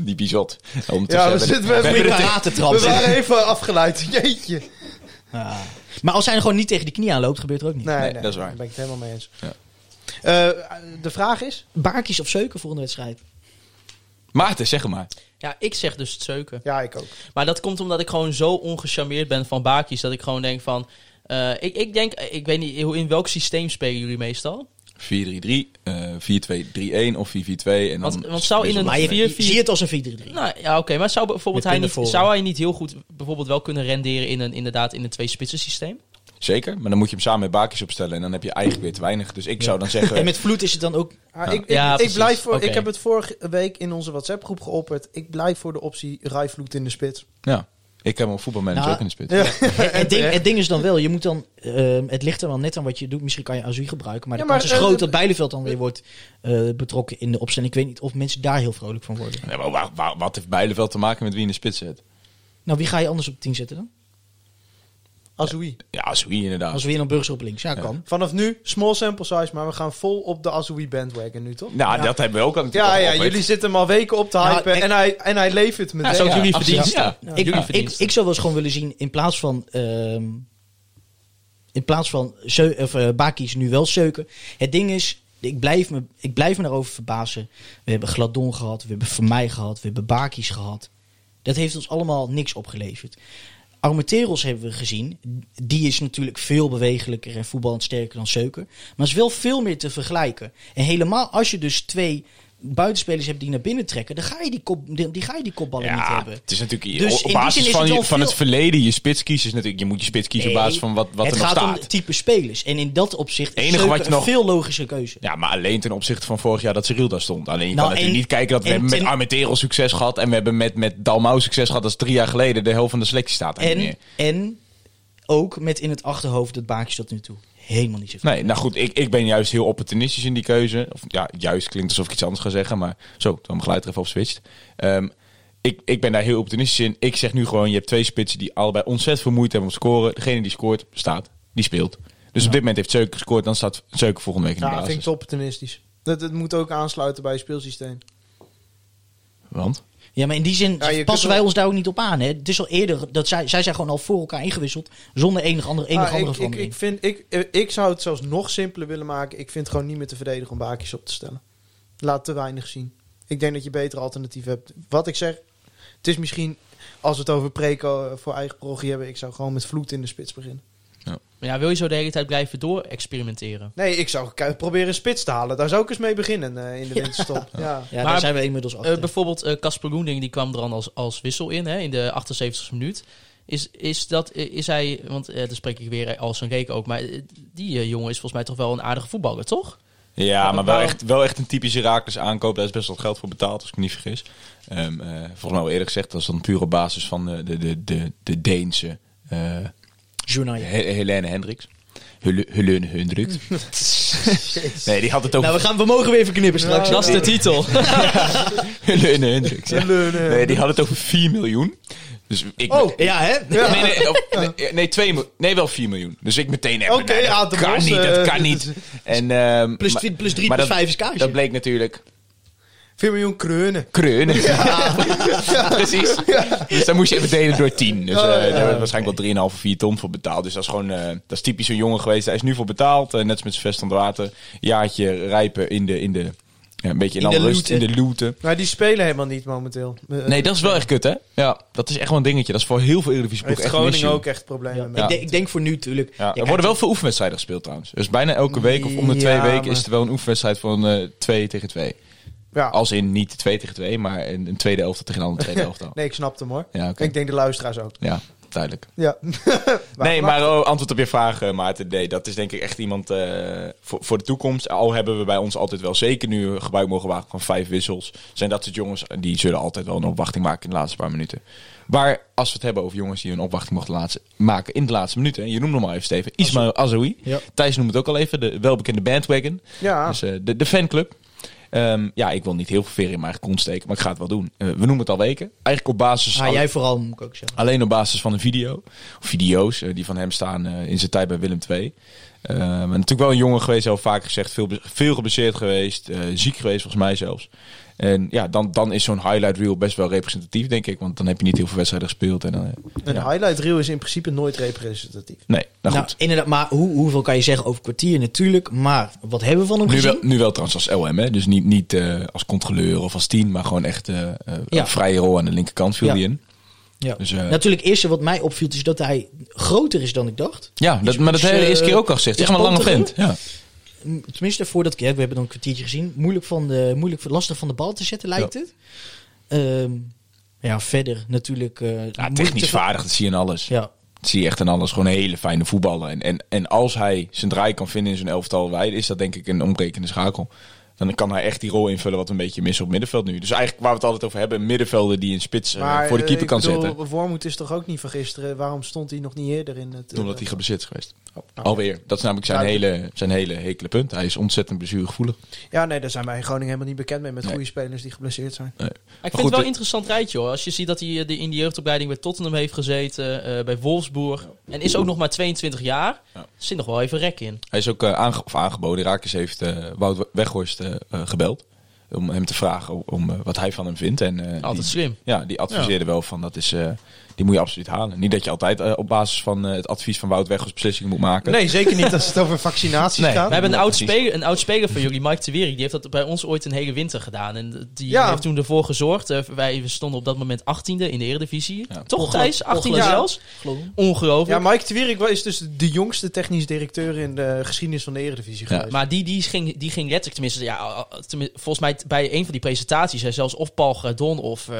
die bizot. Om te Ja, we zeggen- zitten met Met elkaar. karatentrap. We waren even afgeleid. Jeetje. Ja. Maar als hij er gewoon niet tegen die knie aan loopt, gebeurt er ook niet. Nee, Nee, nee, dat is waar. Daar ben ik het helemaal mee eens. Ja. Eh, de vraag is... Baakjes of Zeuken volgende wedstrijd? Maarten, zeg het maar. Ja, ik zeg dus het zeuken. Ja, ik ook. Maar dat komt omdat ik gewoon zo ongecharmeerd ben van baakjes. Dat ik gewoon denk van... eh, ik, ik denk, ik weet niet, hoe- in welk systeem spelen jullie meestal? 4-3-3, eh, 4-2-3-1 of 4-4-2. En dan Want- want zou Oh, in een- Maar je, Vier, je vier. ziet het als een 4-3-3. Nou ja, oké. maar zou, bijvoorbeeld Met hij niet, punten voor. zou hij niet heel goed bijvoorbeeld wel kunnen renderen in een, inderdaad, in een twee-spitsen systeem? Zeker, maar dan moet je hem samen met Bakjes opstellen. En dan heb je eigenlijk weer te weinig. Dus ik zou dan En zeggen... met vloed is het dan ook... Ah, Ik, ik, Ja, ik precies. blijf voor... Oké. Ik heb het vorige week in onze WhatsApp-groep geopperd. Ik blijf voor de optie Rijvloed in de spits. Ja, ik heb een voetbalmanager Nou, ook in de spits. Ja, Het, het ding, terecht. het ding is dan wel, je moet dan... ehm, het ligt er wel net aan wat je doet. Misschien kan je Azui gebruiken. Maar de Ja, maar, kans eh, is groot eh, dat Bijleveld dan weer wordt eh, betrokken in de opstelling. Ik weet niet of mensen daar heel vrolijk van worden. Ja, maar waar- waar- wat heeft Bijleveld te maken met wie in de spits zit? Nou, wie ga je anders op 10 zetten dan? Azoui. Ja, Azoui inderdaad. Als we weer een burgers op links. Ja, kan. Vanaf nu, small sample size, maar we gaan vol op de Azoui bandwagon nu, toch? Nou, dat hebben we ook al Ja, natuurlijk ja, al jullie zitten hem al weken op te Nou, hypen ik- en, hij, en hij levert Ja, meteen. zo is jullie absoluut. verdienst. Ja. jullie ik, ik, verdienst. ik zou wel eens gewoon willen zien, in plaats van... ehm, in plaats van Zeu- of, eh, Baki's nu wel zeuken. Het ding is, ik blijf, me, ik blijf me daarover verbazen. We hebben Gladon gehad, we hebben Vermeij gehad, we hebben Baki's gehad. Dat heeft ons allemaal niks opgeleverd. Armenteros hebben we gezien. Die is natuurlijk veel bewegelijker en voetballend sterker dan Seuker. Maar is wel veel meer te vergelijken. En helemaal als je dus twee buitenspelers hebt die naar binnen trekken, dan ga je die, kop, die, die ga je die kopballen niet hebben. het is natuurlijk Dus in op die basis zin is van, het je- wel van het veel- verleden je spits kiezen is natuurlijk je moet je spits kiezen op basis van wat, wat het er nog gaat staat. om type spelers. En in dat opzicht is Enige Seuker wat je een nog- veel logische keuze. Ja, maar alleen ten opzichte van vorig jaar dat Cyril daar stond. Alleen je kan Nou, natuurlijk en- niet kijken dat we en hebben met ten- Armentero succes gehad en we hebben met, met Dalmau succes gehad. Dat is drie jaar geleden. De helft van de selectie staat er niet meer. En, en ook met in het achterhoofd dat baakje tot nu toe helemaal niet zo Nee, nou goed, ik, ik ben juist heel opportunistisch in die keuze. Of ja, juist klinkt alsof ik iets anders ga zeggen, maar zo, dan mijn geluid er even op switcht. Ehm, ik, ik ben daar heel opportunistisch in. Ik zeg nu gewoon, je hebt twee spitsen die allebei ontzettend vermoeid hebben om te scoren. Degene die scoort, staat. Die speelt. Dus op dit moment heeft Zeuken gescoord, dan staat Zeuken volgende week in de Ja, dat vind ik basis. te opportunistisch. Dat, dat moet ook aansluiten bij je speelsysteem. Want? Ja, maar in die zin Ja, Nou, je kunt passen wij wel- ons daar ook niet op aan. Hè? Het is al eerder dat zij, zij zijn gewoon al voor elkaar ingewisseld. Zonder enig andere, enig Ah, andere ik, ik, verandering. ik, vind, ik, eh, ik zou het zelfs nog simpeler willen maken. Ik vind het gewoon niet meer te verdedigen om baakjes op te stellen. Laat te weinig zien. Ik denk dat je betere alternatieven hebt. Wat ik zeg, het is misschien... Als we het over preco eh, voor eigen parochie hebben... ik zou gewoon met vloed in de spits beginnen. Maar ja, wil je zo de hele tijd blijven door-experimenteren? Nee, ik zou k- proberen een spits te halen. Daar zou ik eens mee beginnen eh, in de winterstop. Ja. ja, daar maar- zijn we inmiddels achter. Eh, bijvoorbeeld eh, Casper Loending, die kwam er dan als, als wissel in, hè, in de 78e minuut. Is, is, dat, eh, is hij, want eh daar spreek ik weer als een reek ook, maar eh, die eh, jongen is volgens mij toch wel een aardige voetballer, toch? Ja, maar wel bepaalde- echt, wel echt een typische Raakles aankoop. Daar is best wel geld voor betaald, als ik me niet vergis. Ehm, eh, volgens mij al eerder gezegd, dat is dan puur op basis van eh, de, de, de, de Deense... eh, Journaal. He- Helene Hendricks. Hel- Helene Hendricks. nee, die had het ook. Nou, we, gaan, we mogen weer even knippen straks. dat is de titel. Helene Hendricks. ja. Nee, die had het over 4 miljoen. Dus ik. Oh, Ja, hè? Nee, nee, of- nee, nee, twee mil- nee, wel 4 miljoen. Dus ik meteen even. Oké, nee, dat aan de kan bos, niet, eh, dat kan niet. En, ehm, dus- Plus maar- drie- plus drie, maar plus dat- vijf is kaasje. Dat bleek natuurlijk 4 miljoen kreunen. kreunen. Precies. Dus dan moest je even delen door 10. Dus eh, daar werd waarschijnlijk wel 3,5 of 4 ton voor betaald. Dus dat is gewoon eh, dat is typisch zo'n jongen geweest. Hij is nu voor betaald. eh, net als met zijn vest aan het water. Jaartje rijpen in de. In de ja, een beetje in, In de alle rust, in looten. de looten. Maar die spelen helemaal niet momenteel. Eh, Nee, dat is wel echt kut, hè? Ja, dat is echt wel een dingetje. Dat is voor heel veel Eredivisie heeft ploegen echt een Groningen issue. ook echt problemen mee. Ik, denk, ik denk voor nu natuurlijk. Ja, er worden wel veel oefenwedstrijden gespeeld trouwens. Dus bijna elke week of om de twee Ja, weken maar- is er wel een oefenwedstrijd van eh 2 tegen 2. Ja. Als in niet 2 tegen 2, maar een, een tweede elftal tegen een andere tweede elftal. Nee, ik snap hem hoor. Ja, oké. Ik denk de luisteraars ook. Ja, duidelijk. Ja. nee, maar oh, antwoord op je vraag, eh, Maarten. Nee, dat is denk ik echt iemand eh, voor, voor de toekomst. Al hebben we bij ons altijd wel zeker nu gebruik mogen maken van vijf wissels. Zijn dat soort jongens eh, die zullen altijd wel een opwachting maken in de laatste paar minuten. Maar als we het hebben over jongens die een opwachting mochten laatste, maken in de laatste minuten. En je noemde hem al even, Steven. Ismail Azoui. Ja. Thijs noemt het ook al even. De welbekende bandwagon. Ja. Dus eh, de, de fanclub. Ehm, ja, ik wil niet heel veel veren in mijn eigen kont steken, maar ik ga het wel doen. Eh, we noemen het al weken. Eigenlijk op basis Ah, van- jij vooral, moet ik ook zeggen. Alleen op basis van een video. Of video's eh, die van hem staan eh, in zijn tijd bij Willem II. Eh, maar natuurlijk wel een jongen geweest, heel vaak gezegd. Veel, be- veel geblesseerd geweest. eh, ziek geweest, volgens mij zelfs. En ja, dan, dan is zo'n highlight reel best wel representatief, denk ik. Want dan heb je niet heel veel wedstrijden gespeeld. En dan, eh, Een ja. highlight reel is in principe nooit representatief. Nee, nou Nou, goed. inderdaad, maar hoe, hoeveel kan je zeggen over kwartier natuurlijk. Maar wat hebben we van hem Nu wel, gezien? nu wel trouwens als LM, hè? dus niet, niet eh, als controleur of als tien, maar gewoon echt eh eh, Ja. een vrije rol aan de linkerkant viel Ja. die in. Ja. Dus, eh, natuurlijk, het eerste wat mij opviel is dat hij groter is dan ik dacht. Ja, dat, maar dat is, heb je de eerste eh, keer ook al gezegd. is Echt maar een lange panterer. vent. Ja. M- tenminste voordat ik, hè, we hebben dan een kwartiertje gezien, moeilijk, van de, moeilijk lastig van de bal te zetten lijkt Ja. het. Ehm, ja, verder natuurlijk. eh, Ja, moeilijk te technisch ver- vaardig, dat zie je in alles. Ja, Dat zie je echt aan alles. Gewoon een hele fijne voetballer. En, en, en als hij zijn draai kan vinden in zijn elftal wij is dat denk ik een ontbrekende schakel. Dan kan hij echt die rol invullen wat we een beetje missen op middenveld nu. Dus eigenlijk waar we het altijd over hebben, een middenvelder die een spits eh, voor de eh, keeper ik kan bedoel, zetten. Wormoed is toch ook niet van gisteren? Waarom stond hij nog niet eerder in het... eh, Omdat hij geblesseerd is geweest. oh, nou, Alweer. Dat is namelijk zijn, Ja, dat- hele, zijn hele hekele punt. Hij is ontzettend blessuregevoelig. Ja, nee, daar zijn wij in Groningen helemaal niet bekend mee. Met Nee. goede spelers die geblesseerd zijn. Maar ik goed, vind het wel eh, een interessant rijtje hoor. Als je ziet dat hij eh, de- in de jeugdopleiding bij Tottenham heeft gezeten, eh, bij Wolfsburg. En is ook nog maar 22 jaar. Ja. Er zit nog wel even rek in. Hij is ook eh, aange- of aangeboden. Raakjes heeft eh, Wout Weghorst eh, eh, gebeld. om hem te vragen o- om eh, wat hij van hem vindt. En, eh, Altijd die- slim. Ja, die adviseerde wel van dat is, eh, die moet je absoluut halen. Niet dat je altijd eh, op basis van eh, het advies van Wout Weghorst beslissingen moet maken. Nee, zeker niet als het over vaccinaties Nee. gaat. We hebben een Ja, oud, precies. speler, een oud speler van jullie, Mike Tewerik, die heeft dat bij ons ooit een hele winter gedaan. En die Ja. heeft toen ervoor gezorgd. eh, wij stonden op dat moment 18e in de Eredivisie. Ja. Toch Thijs, 18e Ongelooflijk. zelfs. Geloof ik. Ongelooflijk. Ja, Mike Twierik is dus de jongste technisch directeur in de geschiedenis van de Eredivisie Ja, geweest. Maar die, die, ging, die ging letterlijk, tenminste, ja, tenmin- volgens mij t- bij een van die presentaties, hè, zelfs of Paul Gradon of eh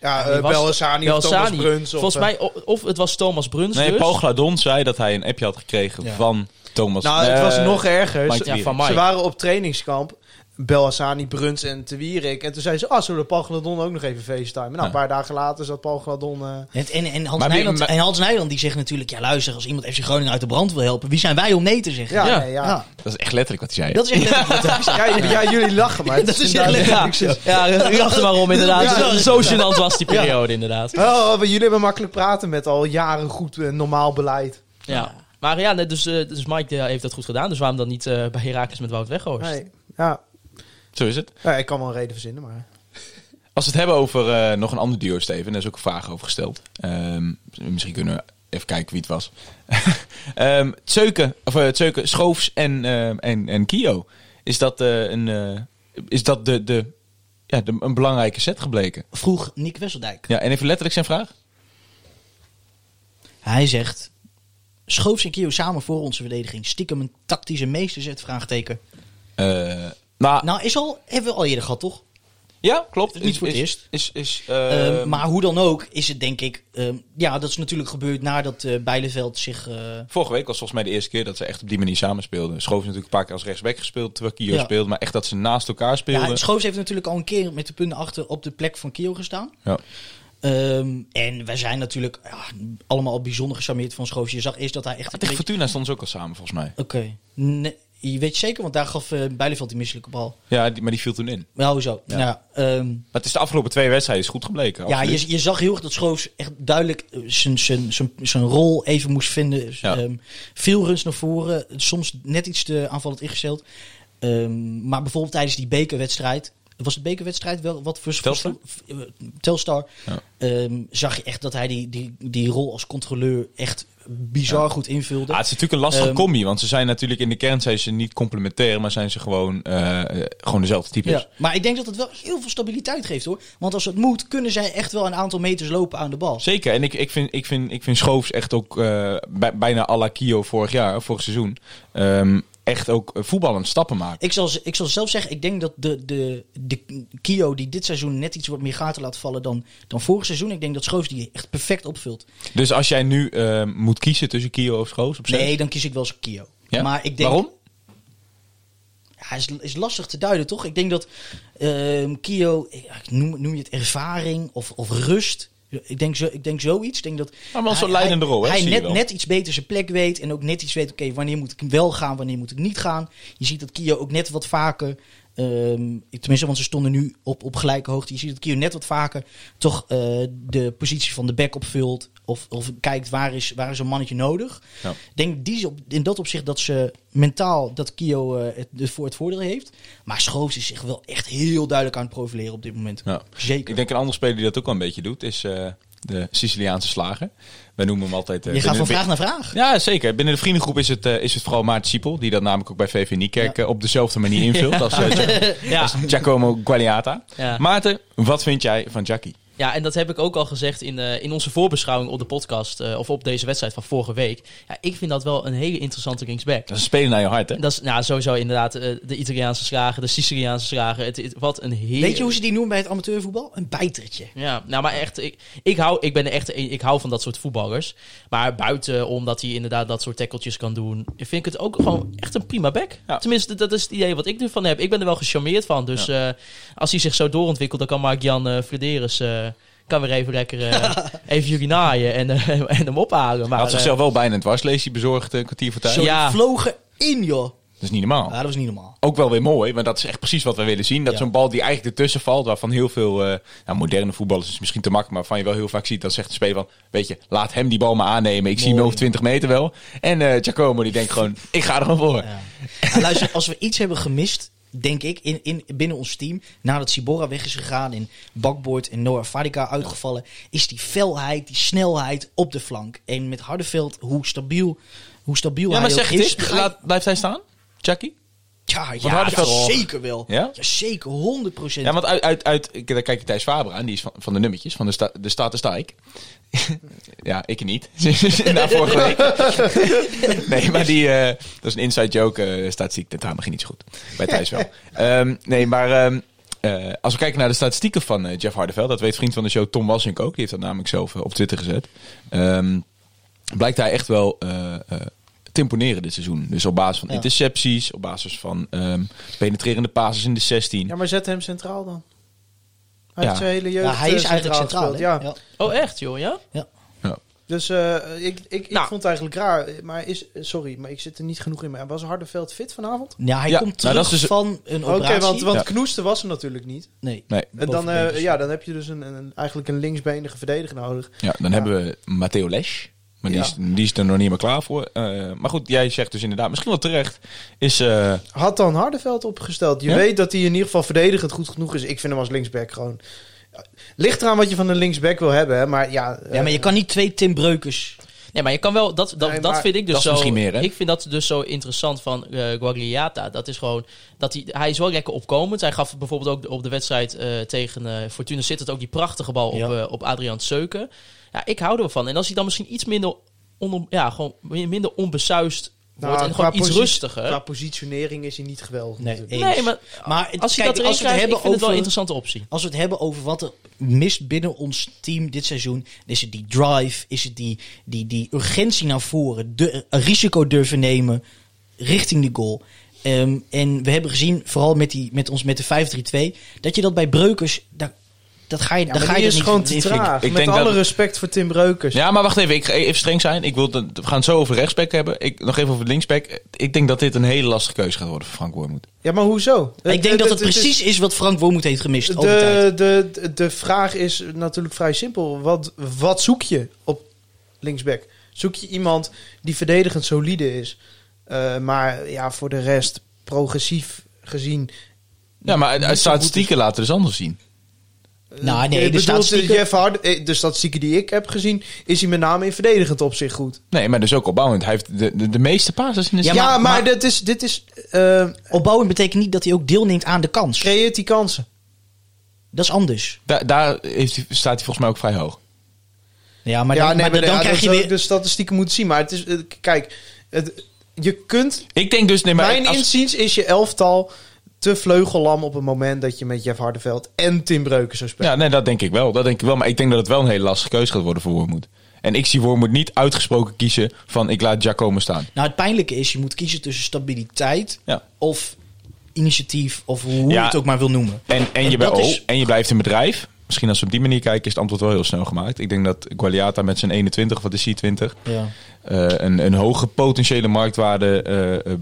Ja, Wie eh, was het? Belhassani of Belzani. Thomas Bruns. of, Volgens eh, mij, o- of, het was Thomas Bruns Nee, dus. Paul Gladon zei dat hij een appje had gekregen Ja. van Thomas. Nou, het Eh, was nog erger. Mike Ze- ja, Twierik. van Mike. Ze waren op trainingskamp. Belhassani, Bruns en Twierik. En toen zei ze, ah, zullen we Paul Gladon ook nog even facetimen? Nou, Ja. een paar dagen later zat Paul Gladon... eh, En, en, en, Hans Maar wie- Nijland, maar- en Hans Nijland die zegt natuurlijk... Ja, luister, als iemand FC Groningen uit de brand wil helpen... wie zijn wij om nee te zeggen? ja, Ja. nee, ja. Ja. Dat is echt letterlijk wat hij zei. Dat is echt letterlijk wat Ja, j- ja, jullie lachen, maar... het Dat is inderdaad- echt Ja, ja, u dacht er maar om inderdaad. Ja. Zo- Zo gênant was die periode inderdaad. Oh, maar jullie hebben makkelijk praten met al jaren goed eh, normaal beleid. Ja. Maar ja, nee, dus, eh, dus Mike eh, heeft dat goed gedaan. Dus waarom dan niet eh, bij Herakles met Wout Weghorst? Nee, ja. Zo is het. ja, ik kan wel een reden verzinnen, maar... Als we het hebben over eh, nog een ander duo, Steven, daar is ook een vraag over gesteld. Ehm, misschien kunnen we even kijken wie het was. Ehm Tseuken, of, eh, Tseuken, Schoofs en, ehm, en, en Kio. Is dat, eh, een, eh, is dat de, de, ja, de, een belangrijke set gebleken? vroeg Nick Wesseldijk. Ja, en even letterlijk zijn vraag. Hij zegt... Schoof zijn Kio samen voor onze verdediging. Stiekem een tactische meesterzet, vraagteken. Eh, nou, Nou, is al, hebben we al eerder gehad, toch? ja, klopt. niet voor het eerst. Is, is, Ehm, ehm, maar hoe dan ook is het denk ik... ehm, ja, dat is natuurlijk gebeurd nadat eh Bijleveld zich... eh, Vorige week was volgens mij de eerste keer dat ze echt op die manier samen speelden. Schoof is natuurlijk een paar keer als rechtsback gespeeld, terwijl Kio Ja. speelde. Maar echt dat ze naast elkaar speelden. ja, Schoofs heeft natuurlijk al een keer met de punten achter op de plek van Kio gestaan. Ja. Ehm, en wij zijn natuurlijk ja, allemaal bijzonder gecharmeerd van Schoofs. Je zag eerst dat hij echt... een Tegen beetje- Fortuna stonden ze ook al samen, volgens mij. Oké. Nee, je weet zeker, want daar gaf eh Bijleveld die misselijke bal. Ja, die- maar die viel toen in. Maar hou zo. Ja. Ja. Nou, ehm, Maar het is de afgelopen twee wedstrijden is goed gebleken. ja, absoluut. je, je zag heel erg dat Schoofs echt duidelijk eh, zijn- zijn- zijn zijn rol even moest vinden. Ja. Ehm, veel runs naar voren, soms net iets te aanvallend ingesteld. Ehm, maar bijvoorbeeld tijdens die bekerwedstrijd. Was het bekerwedstrijd wel wat voor Telstar? voor- eh, Telstar. Ja. ehm, zag je echt dat hij die, die, die rol als controleur echt bizar goed invulde. Ah, het is natuurlijk een lastige Ehm, combi, want ze zijn natuurlijk in de kern zijn ze niet complementair, maar zijn ze gewoon, eh, eh, gewoon dezelfde types. Ja, maar ik denk dat het wel heel veel stabiliteit geeft hoor. Want als het moet, kunnen zij echt wel een aantal meters lopen aan de bal. Zeker, en ik, ik, vind, ik, vind, ik vind Schoofs echt ook eh, bij- bijna à la Kio vorig jaar, vorig seizoen, ehm, echt ook eh, voetballend stappen maken. Ik zal, ik zal zelf zeggen, ik denk dat de, de, de Kio die dit seizoen net iets wat meer gaten laat vallen dan, dan vorig seizoen. Ik denk dat Schoofs die echt perfect opvult. Dus als jij nu ehm, moet kiezen tussen Kio of Schoofs op zes- Nee, dan kies ik wel eens Kio. Ja? Maar ik denk, Waarom? Ja, is, is lastig te duiden toch? Ik denk dat ehm, Kio, ja, ik noem, noem je het ervaring of, of rust. Ik denk, zo, ik denk zoiets. Ik denk dat Maar wel hij- zo'n leidende hij- rol, hè? Hij Zie je net, wel. net iets beter zijn plek weet. En ook net iets weet, oké, wanneer moet ik wel gaan, wanneer moet ik niet gaan. Je ziet dat Kio ook net wat vaker... ehm, ik- tenminste, want ze stonden nu op, op gelijke hoogte. Je ziet dat Kio net wat vaker toch eh, de positie van de back opvult. Of, of kijkt, waar is, waar is een mannetje nodig? Ja. Ik denk die, op- in dat opzicht dat ze mentaal dat Kio eh, het, het voor het voordeel heeft. Maar Schoofs is zich wel echt heel duidelijk aan het profileren op dit moment. Ja. Zeker. Ik denk een andere speler die dat ook wel een beetje doet, is eh, de Siciliaanse slager. Wij noemen hem altijd... eh, Je gaat binnen- van vraag naar vraag. Ja, zeker. Binnen de vriendengroep is het, eh, is het vooral Maarten Siepel, die dat namelijk ook bij VV Niekerk eh, op dezelfde manier invult als, eh, Gia- Ja. als Giacomo Gualiata. Ja. Maarten, wat vind jij van Jackie? Ja, en dat heb ik ook al gezegd in, eh, in onze voorbeschouwing op de podcast. eh, of op deze wedstrijd van vorige week. Ja, ik vind dat wel een hele interessante linksback. Dat is een speler naar je hart, hè? Dat is nou, sowieso inderdaad eh, de Italiaanse slager, de Siciliaanse slager. Het, het- wat een heer. Weet eh, je hoe ze die noemen bij het amateurvoetbal? Een bijtertje. Ja, nou maar echt, ik, ik, hou, ik ben echt, ik hou van dat soort voetballers. Maar buiten omdat hij inderdaad dat soort tackeltjes kan doen, vind ik het ook gewoon echt een prima back. Ja. Tenminste, dat is het idee wat ik ervan heb. Ik ben er wel gecharmeerd van. Dus eh, als hij zich zo doorontwikkelt, dan kan Mark-Jan eh Frederis, eh, kan weer even lekker eh, even jullie naaien en, eh, en hem ophalen. Maar, Hij had eh, zichzelf wel bijna een dwarsleesje bezorgd, eh, een kwartier voor tijd. Zo die Ja. vlogen in, joh. Dat is niet normaal. Ah, dat was niet normaal. Ook wel weer mooi, want dat is echt precies wat we willen zien. Dat Ja. zo'n bal die eigenlijk ertussen valt, waarvan heel veel eh, nou, moderne voetballers is misschien te makkelijk, maar van je wel heel vaak ziet, dan zegt de speler van, weet je, laat hem die bal maar aannemen. Ik zie hem over 20 meter wel. En eh Giacomo die denkt gewoon, ik ga er gewoon voor. Ja. Nou, luister, als we iets hebben gemist denk ik, in, in, binnen ons team. Nadat Sibora weg is gegaan en Bakboord en Noah Farika uitgevallen, is die felheid, die snelheid op de flank. En met Hardeveld, hoe stabiel, hoe Ja, stabiel hij maar ook zeg het is. eens. ga je- Laat- Blijft hij staan? Chucky? ja, ja, Hardeveld- zeker wel. Ja? Ja? zeker, 100 procent. Ja, want uit, uit, uit ik- daar kijk je Thijs Faber aan, die is van, van de nummertjes, van de, sta, de statistiek. ja, ik niet. Na vorige week. nee, maar die, eh, dat is een inside joke, eh statistiek tentamen ging niet zo goed. Bij Thijs wel. Ehm, nee, maar ehm, eh, als we kijken naar de statistieken van eh, Jeff Hardeveld, dat weet vriend van de show Tom Wassink ook, die heeft dat namelijk zelf eh, op Twitter gezet. Ehm, blijkt hij echt wel eh, eh, te imponeren dit seizoen. Dus op basis van Ja. intercepties, op basis van ehm, penetrerende passes in de 16. Ja, maar zet hem centraal dan. Hij Ja. heeft zijn hele jeugd Ja, hij is eh, eigenlijk centraal. gespeeld, hè? ja. Ja. Oh, echt, joh, ja? Ja. Dus eh, ik, ik, ik Nou. vond het eigenlijk raar. Maar is, sorry, maar ik zit er niet genoeg in. Maar was Hardeveld fit vanavond? Ja, hij Ja, komt nou, terug dat is dus- van een Oké, operatie. want, want Ja. Knoester was er natuurlijk niet. nee. Nee. En dan, eh, Bovenbeen is- ja, dan heb je dus een, een, eigenlijk een linksbenige verdediger nodig. Ja, dan hebben we Matteo Lesch. Maar die, Ja. is, die is er nog niet meer klaar voor. Eh, maar goed, jij zegt dus inderdaad, misschien wel terecht, is... eh, Had dan Hardeveld opgesteld. Je Ja? weet dat hij in ieder geval verdedigend goed genoeg is. Ik vind hem als linksback gewoon... Ligt eraan wat je van een linksback wil hebben, hè, maar ja... eh, Ja, maar je kan niet twee Tim Breukers. Nee, maar je kan wel, dat, dat, Nee, dat maar- vind ik dus Dat is zo. misschien meer, hè? Ik vind dat dus zo interessant van eh Guagliata. Dat is gewoon, dat hij, hij is wel lekker opkomend. Hij gaf bijvoorbeeld ook op de wedstrijd eh, tegen eh Fortuna Sittard ook die prachtige bal op, Ja. eh, op Adriaan Seuken. Ja, ik hou er wel van. En als hij dan misschien iets minder, onom- ja, gewoon minder onbesuist wordt nou, en qua gewoon iets posi- rustiger. Qua positionering is hij niet geweldig. Nee, natuurlijk. eens. nee, maar Maar het- als hij kijk, dat erin als we het krijgt, ik vind hebben het wel een over- interessante optie. Als we het hebben over wat er mist binnen ons team dit seizoen, is het die drive, is het die, die, die urgentie naar voren, de, een risico durven nemen richting de goal. Ehm, en we hebben gezien, vooral met, die, met ons met de 5-3-2, dat je dat bij Breukers, daar, dat ga je, Ja, daar maar ga die je is dat gewoon niet te in vinden. traag. Ik Met denk alle dat- respect voor Tim Breukers. ja, maar wacht even, ik ga even streng zijn. Ik wil, dat- we gaan het zo over rechtsback hebben. Ik, nog even over linksback. Ik denk dat dit een hele lastige keuze gaat worden voor Frank Wormoed. Ja, maar hoezo? Ik denk dat het is- precies is wat Frank Wormoed heeft gemist. al die tijd. De, de, de, de vraag is natuurlijk vrij simpel. Wat, wat zoek je op linksback? Zoek je iemand die verdedigend solide is, eh, maar ja, voor de rest progressief gezien. Ja, maar uit, niet uit zo goed statistieken laten we dus anders zien. is. Nou, nee, de Je bedoelt, eh, statistieken- Jeff Hard- eh, de statistieken die ik heb gezien, is hij met name in verdedigend opzicht goed. Nee, maar dus ook opbouwend. Hij heeft de, de, de meeste passes in de Ja, Ja, ja, maar- maar, maar- dit is, dit is eh, Opbouwend betekent niet dat hij ook deelneemt aan de kans. creëert die kansen. Dat is anders. Daar, daar heeft hij- staat hij volgens mij ook vrij hoog. Ja, maar ja, dan, nee, maar maar dan ja, krijg dat je zou weer... ik de statistieken moeten zien. Maar het is, eh, k- kijk, het, je kunt Ik denk dus... Nee, maar Mijn als- inziens is je elftal te vleugellam op het moment dat je met Jeff Hardeveld en Tim Breuken zou spelen. Ja, nee, dat denk ik wel. Dat denk ik wel. Maar ik denk dat het wel een hele lastige keuze gaat worden voor Wormoed. En ik zie Wormoed niet uitgesproken kiezen van ik laat Giacomo staan. Nou, het pijnlijke is, je moet kiezen tussen stabiliteit Ja. of initiatief, of hoe je Ja. het ook maar wil noemen. En, en, je, En dat oh, is- en je blijft een bedrijf. Misschien als we op die manier kijken is het antwoord wel heel snel gemaakt. Ik denk dat Gualiata met zijn 21, of wat is hij, 20, Ja. eh, een, een hoge potentiële marktwaarde... eh, eh,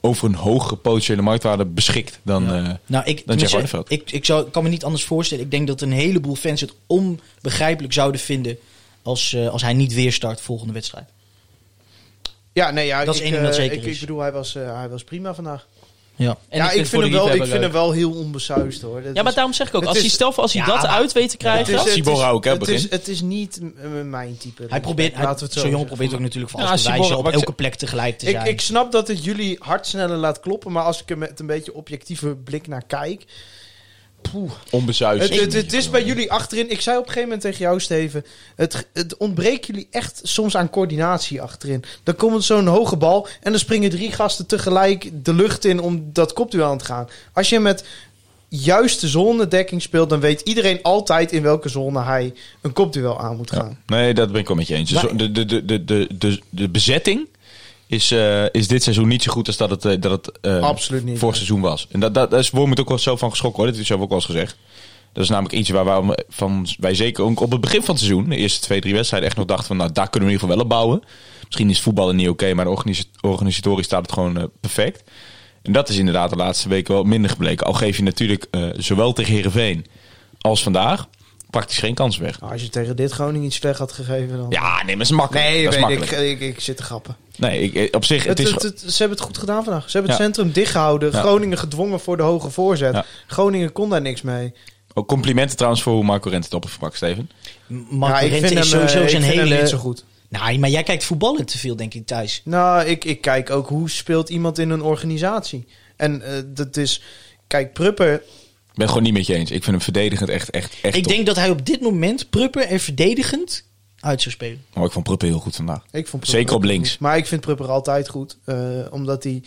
over een hogere potentiële marktwaarde beschikt dan... eh, Nou, ik, Dan Jeff tenminste, Hardeveld. ik, ik zou, ik kan me niet anders voorstellen. Ik denk dat een heleboel fans het onbegrijpelijk zouden vinden als, eh, als hij niet weer start volgende wedstrijd. Ja, nee, ja, Dat is ik, één ding dat eh, zeker ik, is. ik bedoel, hij was, eh, hij was prima vandaag. Ja. En ja, ik vind, hem, wel, ik vind leuk. hem wel heel onbesuist hoor. Dat Ja, maar is- daarom zeg ik ook, het als is- hij, stel voor als hij Ja, dat maar- uit weet te het krijgen... is- het Sibora is- ook, hè, Het is, begin. het is niet m- mijn type. Hij probeert, hij, Laten we het zo zo'n jongen zeggen. probeert ook natuurlijk van Ja, alles te Sibora, wijzen op wat ik elke plek tegelijk te Ik, zijn. ik snap dat het jullie hart sneller laat kloppen, maar als ik er met een beetje objectieve blik naar kijk. Poeh. onbesuist. Het, het, het is bij jullie achterin. Ik zei op een gegeven moment tegen jou, Steven. Het, het ontbreekt jullie echt soms aan coördinatie achterin. Dan komt zo'n hoge bal en dan springen drie gasten tegelijk de lucht in om dat kopduel aan te gaan. Als je met juiste zonnedekking speelt, dan weet iedereen altijd in welke zone hij een kopduel aan moet gaan. Nee, dat ben ik wel met je eens. Dus Maar- de, de, de, de, de, de, de bezetting is, eh, is dit seizoen niet zo goed als dat het, eh, dat het eh, Absoluut niet, vorig nee. seizoen was. En dat, dat, daar is Wormoed ook wel zo van geschrokken hoor. Dat is zelf ook wel eens gezegd. Dat is namelijk iets waar, waar van, wij zeker ook op het begin van het seizoen, de eerste twee, drie wedstrijden, echt nog dachten van nou daar kunnen we in ieder geval wel op bouwen. Misschien is voetballen niet oké, maar de organisa- organisatorisch staat het gewoon eh, perfect. En dat is inderdaad de laatste weken wel minder gebleken. Al geef je natuurlijk eh, zowel tegen Herenveen als vandaag praktisch geen kans weg. Nou, als je tegen dit Groningen iets slecht had gegeven, dan. Ja, nee, maar dat is makkelijk. Nee, dat is weet ik, makkelijk. ik, ik. Ik zit te grappen. Nee, ik- ik, op zich, Het, het is... het- het- ze hebben het goed gedaan vandaag. Ze hebben het Ja. centrum dichtgehouden. Ja. Groningen gedwongen voor de hoge voorzet. Ja. Groningen kon daar niks mee. Ook Oh, complimenten trouwens voor hoe Marco Rente het op sprak, Steven. Marco Ja, ik Rente vind is hem, eh, sowieso ik zijn vind hem niet zo hele... goed. Nee, maar jij kijkt voetballen te veel, denk ik, thuis. Nou, ik, ik kijk ook hoe speelt iemand in een organisatie. En eh, dat is... Kijk, Prupper... Ik ben gewoon niet met je eens. Ik vind hem verdedigend echt, echt, echt ik top. denk dat hij op dit moment prupper en verdedigend uit zou spelen. Maar ik vond Pruppen heel goed vandaag. Ik vond Prupper Zeker op ook links. goed. Maar ik vind Prupper altijd goed. eh, omdat hij...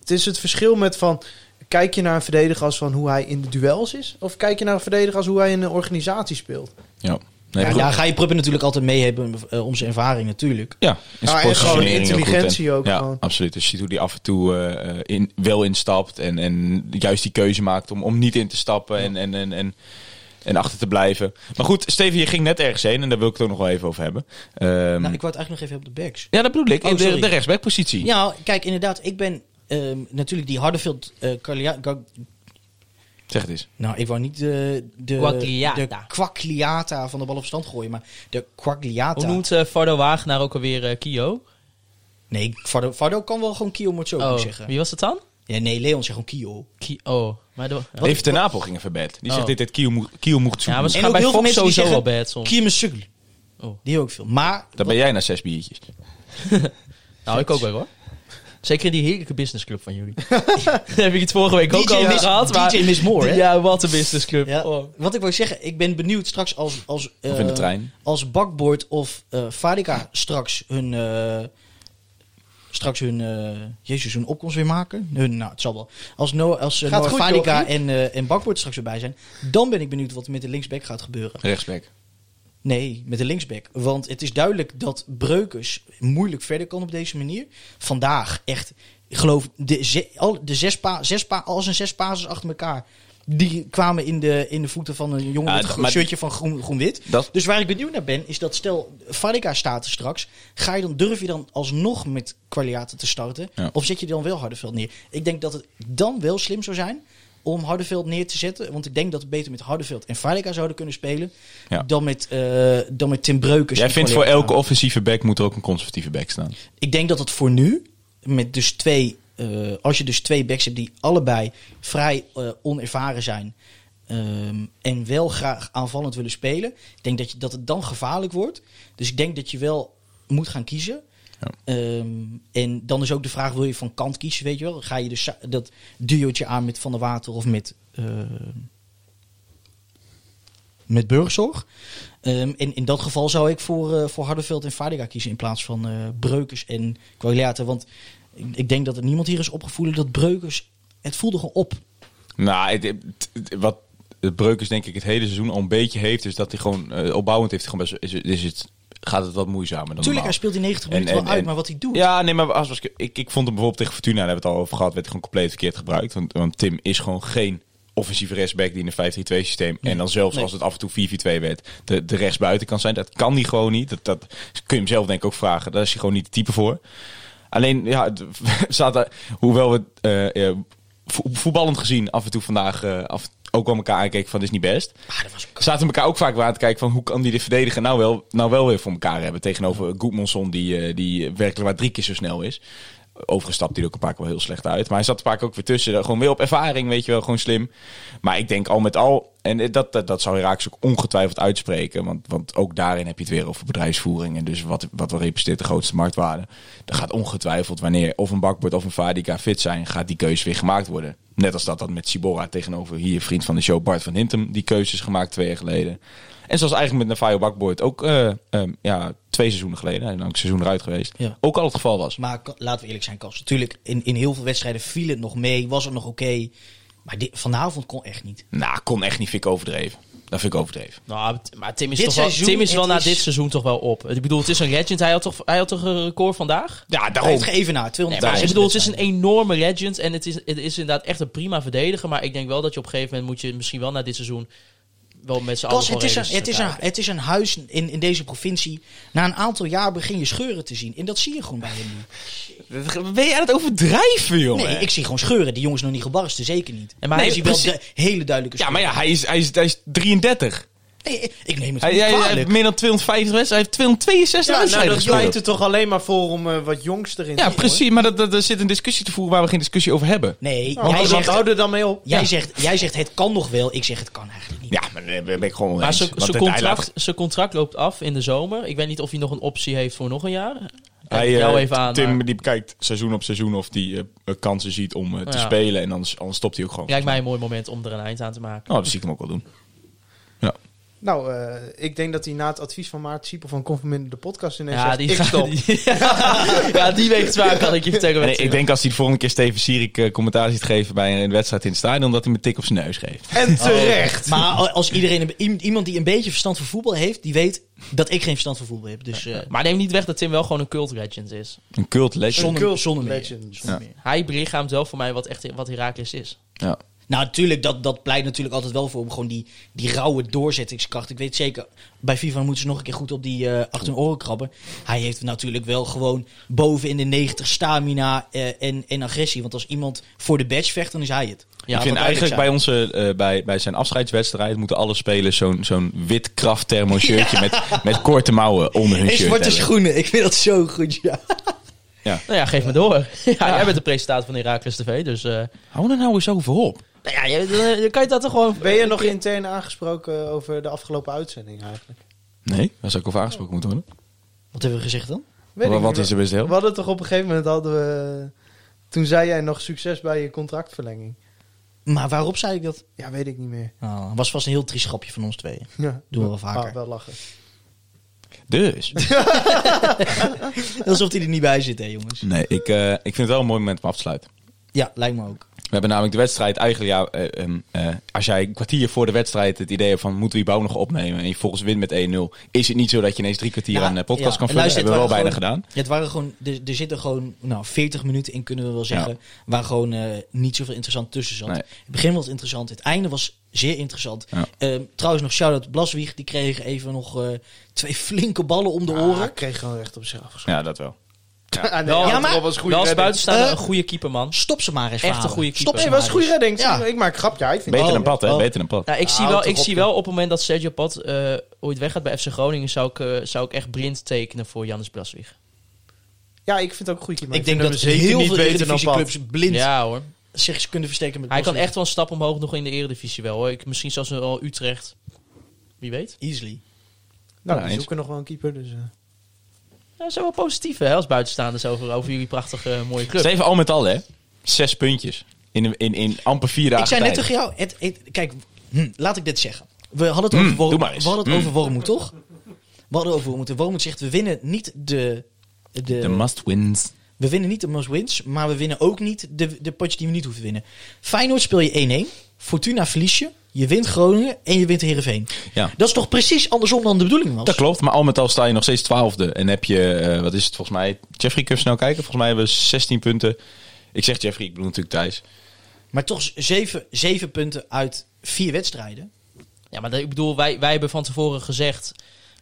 Het is het verschil met van... Kijk je naar een verdediger als van hoe hij in de duels is? Of kijk je naar een verdediger als hoe hij in een organisatie speelt? Ja. Nee, ja, goed. daar ga je prupper natuurlijk altijd mee hebben eh, om zijn ervaring natuurlijk. Ja, in Ja, en sportpositionering gewoon heel goed. intelligentie En- ook Ja, gewoon. absoluut. Dus je ziet hoe die af en toe eh, eh, in, wel instapt en, en juist die keuze maakt om, om niet in te stappen en, en, en, en, en achter te blijven. Maar goed, Steven, je ging net ergens heen en daar wil ik het ook nog wel even over hebben. Ehm, Nou, ik wou het eigenlijk nog even op de backs. ja, dat bedoel ik. Oh, in de, sorry. de rechtsbackpositie. Ja, kijk, inderdaad, ik ben ehm, natuurlijk die Hardenfield... eh Carlia- Gar- Zeg het eens. nou, ik wou niet de, de, Quagliata. de Quagliata van de bal op stand gooien, maar de Quagliata... Hoe noemt eh, Vardo Wagenaar ook alweer eh, Kio? Nee, Vardo, Vardo kan wel gewoon Kio Mocho Oh, zeggen. wie was dat dan? Ja, nee, Leon zegt gewoon Kio. Kio. Maar de, Even ten Napel ging even bed. Die zegt Oh. dit, dit Kiel moet Kiel moet ja, zoeken. maar ze En gaan ook bij heel veel Fox mensen die sowieso wel zeggen bad soms. Kio Sugli. Oh. Die ook veel. Maar Dan ben jij na zes biertjes. Nou, ik ook wel hoor. Zeker in die heerlijke businessclub van jullie. Daar heb ik het vorige week ook DJ al over Miss- gehad. maar- DJ Miss Moore, hè? Ja, wat een businessclub. Ja, Oh. Wat ik wil zeggen, ik ben benieuwd straks als, als, eh, Of in de trein. als Bakboord of eh Fadika straks hun, eh, straks hun, eh, jezus, hun opkomst weer maken. Hun, nou, het zal wel. Als, no, als eh, Gaat Noah goed, Fadika joh. en, eh, en Bakboord straks weer bij zijn, dan ben ik benieuwd wat er met de linksback gaat gebeuren. Rechtsback. Nee, met de linksback. Want het is duidelijk dat Breukers moeilijk verder kan op deze manier. Vandaag echt, ik geloof, de, ze- al, de zes, pa, zes pa, al zijn zes pases achter elkaar. Die kwamen in de, in de voeten van een jongen Ah, met d- een groen maar- shirtje van groen- groen-wit. Dat- dus waar ik benieuwd naar ben, is dat stel Varika staat er straks. Ga je dan, durf je dan alsnog met kwaliteiten te starten? Ja. Of zet je dan wel Hardenveld neer? Ik denk dat het dan wel slim zou zijn om Hardenveld neer te zetten. Want ik denk dat we beter met Hardenveld en Varika zouden kunnen spelen Ja. dan met, eh, dan met Tim Breukers. Jij en vindt voor Collega. elke offensieve back moet er ook een conservatieve back staan. Ik denk dat het voor nu, met dus twee, eh, als je dus twee backs hebt die allebei vrij eh, onervaren zijn ehm, en wel graag aanvallend willen spelen, ik denk dat, je, dat het dan gevaarlijk wordt. Dus ik denk dat je wel moet gaan kiezen. Ja. Ehm, en dan is ook de vraag, wil je van kant kiezen, weet je wel? Ga je dus sa- dat duootje aan met Van der Water of met... ehm, met burgzorg. Ehm, en in dat geval zou ik voor, eh, voor Hardenveld en Vaardiga kiezen in plaats van eh, Breukers en Quagliata. Want ik, ik denk dat er niemand hier is opgevoelen dat Breukers. Het voelde gewoon op. Nou, het- het- het- wat de Breukers denk ik het hele seizoen al een beetje heeft, is dat hij gewoon eh, opbouwend heeft. hij Gewoon best, is, is het, gaat het wat moeizamer dan Tuurlijk, hij normaal. speelt die 90 En- minuten en- wel uit, en- maar wat hij doet. Ja, nee, maar als, als, ik, ik vond hem bijvoorbeeld tegen Fortuna, daar hebben we het al over gehad, werd hij gewoon compleet verkeerd gebruikt. Want, want Tim is gewoon geen offensieve rechtsback die in een 5-3-2 systeem. En dan zelfs Nee. als het af en toe 4-4-2 werd, de, de rechtsbuiten kan zijn. Dat kan hij gewoon niet. Dat, dat kun je hem zelf denk ik ook vragen. Daar is hij gewoon niet de type voor. Alleen, ja, het- staat er, hoewel we eh, eh, vo- voetballend gezien af en toe vandaag eh, af, ook wel elkaar aankeken van dit is niet best. Ah, dat was ook- Zaten elkaar ook vaak weer aan te kijken van hoe kan die de verdediger nou wel, nou wel weer voor elkaar hebben. Tegenover Goedmanson die, eh, die werkelijk maar drie keer zo snel is. Overigens stapt hij er ook een paar keer wel heel slecht uit. Maar hij zat er een paar keer ook weer tussen. Eh, Gewoon weer op ervaring, weet je wel. Gewoon slim. Maar ik denk al met al... En eh, dat, dat, dat zou Raaks ook ongetwijfeld uitspreken. Want, want ook daarin heb je het weer over bedrijfsvoering. En dus wat, wat wel representeert de grootste marktwaarde. Er gaat ongetwijfeld wanneer of een bakbord of een Vadica fit zijn... gaat die keuze weer gemaakt worden. Net als dat dat met Sibora tegenover hier vriend van de show Bart van Hintem... die keuze is gemaakt twee jaar geleden. En zoals eigenlijk met Navajo Bakboord ook eh, ehm, ja, twee seizoenen geleden... hij is namelijk een seizoen eruit geweest, Ja. ook al het geval was. Maar ka- laten we eerlijk zijn, Kas. Natuurlijk, in, in heel veel wedstrijden viel het nog mee, was het nog oké. Maar dit, vanavond kon echt niet. Nou, kon echt niet. Vind ik overdreven. Dat vind ik overdreven. Nou, t- maar Tim is, Dit toch wel, seizoen, Tim is wel het na is- dit seizoen toch wel op. Ik bedoel, het is een legend. Hij had toch, hij had toch een record vandaag? Ja, Hij daarom. heeft even naar Oh. Nee, 200 maar ik bedoel, het is een enorme legend. En het is, het is inderdaad echt een prima verdediger. Maar ik denk wel dat je op een gegeven moment moet je misschien wel na dit seizoen wel met z'n allen Kas, het is, een, het, is een, het is een huis in, in deze provincie. Na een aantal jaar begin je scheuren te zien. En dat zie je gewoon bij hem nu. Ben jij dat overdrijven, jongen? Nee, ik zie gewoon scheuren. Die jongen is nog niet gebarsten, zeker niet. En En maar maar hij- hij ziet wel precies- de hele duidelijke Ja, scheuren. maar ja, hij is, hij is, hij is 33. Nee, ik neem het Hij, niet hij- hij kwalijk. heeft meer dan 250 wedstrijden. Hij heeft 262 Ja, nou, wedstrijden dat gespeeld. pleit er toch alleen maar voor om eh, wat jongs erin te Ja, doen, precies. Maar dat, dat, er zit een discussie te voeren waar we geen discussie over hebben. Nee, hoor. Nou, jij, hou- zegt, hou er dan mee op. jij, ja. zegt, jij zegt het kan nog wel. Ik zeg het kan eigenlijk niet. Ja, maar daar ben ik gewoon Maar eens. zijn Want zijn hij contract, laat- zijn contract loopt af in de zomer. Ik weet niet of hij nog een optie heeft voor nog een jaar. Kijk Hij, ik jou eh, even aan. Tim maar die bekijkt seizoen op seizoen of hij kansen ziet om eh, te Ja. spelen. En anders, anders stopt hij ook gewoon. lijkt mij een mooi moment om er een eind aan te maken. Nou, dat zie ik hem ook wel doen. Nou, eh, ik denk dat hij na het advies van Maarten Siepel van Conforminder de podcast ineens Ja, Oh, zegt, die ik gaat- stop. die- ja, die weegt zwaar, kan ik je vertellen. Nee, ik denk als hij de volgende keer Steven Sierik eh, commentaar ziet geven bij een wedstrijd in het stadion, dat hij me tik op zijn neus geeft. En Oh. terecht. Maar a- als iedereen, een- iem- iemand die een beetje verstand van voetbal heeft, die weet dat ik geen verstand van voetbal heb. Dus eh, Maar neem niet weg dat Tim wel gewoon een cult legend is. Een cult legend. zonder, cult zonder meer. legend. Zonder Ja. meer. Hij belichaamt wel voor mij wat, echt, wat Herakles is. Ja. Nou, natuurlijk, dat, dat pleit natuurlijk altijd wel voor om gewoon die, die rauwe doorzettingskracht. Ik weet zeker, bij FIFA moeten ze nog een keer goed op die eh achter hun oren krabben. Hij heeft natuurlijk wel gewoon boven in de 90 stamina eh, en, en agressie. Want als iemand voor de badge vecht, dan is hij het. Ja, ik vind want eigenlijk bij, eigenlijk onze, eh, bij, bij zijn afscheidswedstrijd moeten alle spelers zo'n zo'n wit kraftthermo shirtje met, met korte mouwen onder hun En shirt zwarte hebben. schoenen, ik vind dat zo goed, ja. Nou ja, geef me door. Ja, Jij bent de presentator van Herakles TV, dus... eh, Hou er nou eens over op. nou ja, je- dan dan kan je dat toch gewoon... Ben je nog intern aangesproken over de afgelopen uitzending eigenlijk? Nee, daar zou ik over aangesproken moeten worden. Wat hebben we gezegd dan? Weet Wat, ik niet wat meer. is er best We heel? hadden toch op een gegeven moment hadden we... Toen zei jij nog succes bij je contractverlenging. Maar waarop zei ik dat? Ja, weet ik niet meer. Oh, was vast een heel triest grapje van ons tweeën. Ja. Doen we wel vaker. Ah, wel lachen. Dus. Alsof hij er niet bij zit, hè, jongens. Nee, ik, eh, ik vind het wel een mooi moment om af te sluiten. Ja, lijkt me ook. We hebben namelijk de wedstrijd eigenlijk, ja, eh, ehm, eh, als jij een kwartier voor de wedstrijd het idee hebt van moeten we die bouw nog opnemen en je volgens wint met 1-0, is het niet zo dat je ineens drie kwartier Ja, aan de eh, podcast ja. kan En nou vullen. Dat luister, hebben we wel het bijna waren gedaan. Het waren gewoon, er, er zitten gewoon nou, 40 minuten in, kunnen we wel zeggen, waar gewoon eh, niet zoveel interessant tussen zat. Nee. Het begin was interessant, het einde was zeer interessant. Ja. Ehm, trouwens nog shout-out Blaswieg, die kreeg even nog eh, twee flinke ballen om de Ah, oren. ik kreeg gewoon recht op zich afgeschoten. Ja, dat wel. Ah, nee, Wel, Ja, maar- dat was een goede wel als redding. buitenstaander Eh? een goede keeper, man. Stop ze maar eens, Echt een verhalen. goede keeper. Stop ze Nee, was een maar goede eens. redding. Ja. Ik maak een grapje. Ja, ik vind Beter het dan wel- pad, hè? oh. Beter dan pad. Nou, ik Ah, zie, houd wel, toch ik op, zie joh. wel op het moment dat Sergio Pat eh ooit weggaat bij FC Groningen, zou ik, eh, zou ik echt blind tekenen voor Jannes Blaswig. Ja, ik vind het ook een goede keeper. Ik denk dat zeker heel niet veel beter dan pad. Eredivisieclubs blind Ja hoor. zich kunnen versterken met Hij kan Blaswieg. echt wel een stap omhoog nog in de eredivisie wel hoor. Ik, misschien zelfs al Utrecht. Wie weet. Easily. Nou, Ja, we eens. zoeken nog wel een keeper. Dus, eh. Ja, dat zijn wel positief hè, als buitenstaanders over, over jullie prachtige eh, mooie club. Steven, al met al, hè? Zes puntjes. In, in, in amper vier dagen Ik zei net tijd. tegen jou, het, het- kijk, hm, laat ik dit zeggen. We hadden het Hm, over, doe Worm, maar eens. we hadden het Hm. over Wormoed, toch? We hadden over Wormoed. En Wormoed zegt, we winnen niet de... de, De must-wins. we winnen niet de must-wins, maar we winnen ook niet de, de potjes die we niet hoeven te winnen. Feyenoord speel je 1-1. Fortuna verlies je. Je wint Groningen en je wint Heerenveen. Ja. Dat is toch precies andersom dan de bedoeling was? Dat klopt, maar al met al sta je nog steeds twaalfde. En heb je, eh, wat is het volgens mij, Jeffrey Cup snel kijken. Volgens mij hebben we 16 punten. Ik zeg Jeffrey, ik bedoel natuurlijk Thijs. Maar toch zeven, zeven punten uit vier wedstrijden. Ja, maar dat- ik bedoel, wij, wij hebben van tevoren gezegd...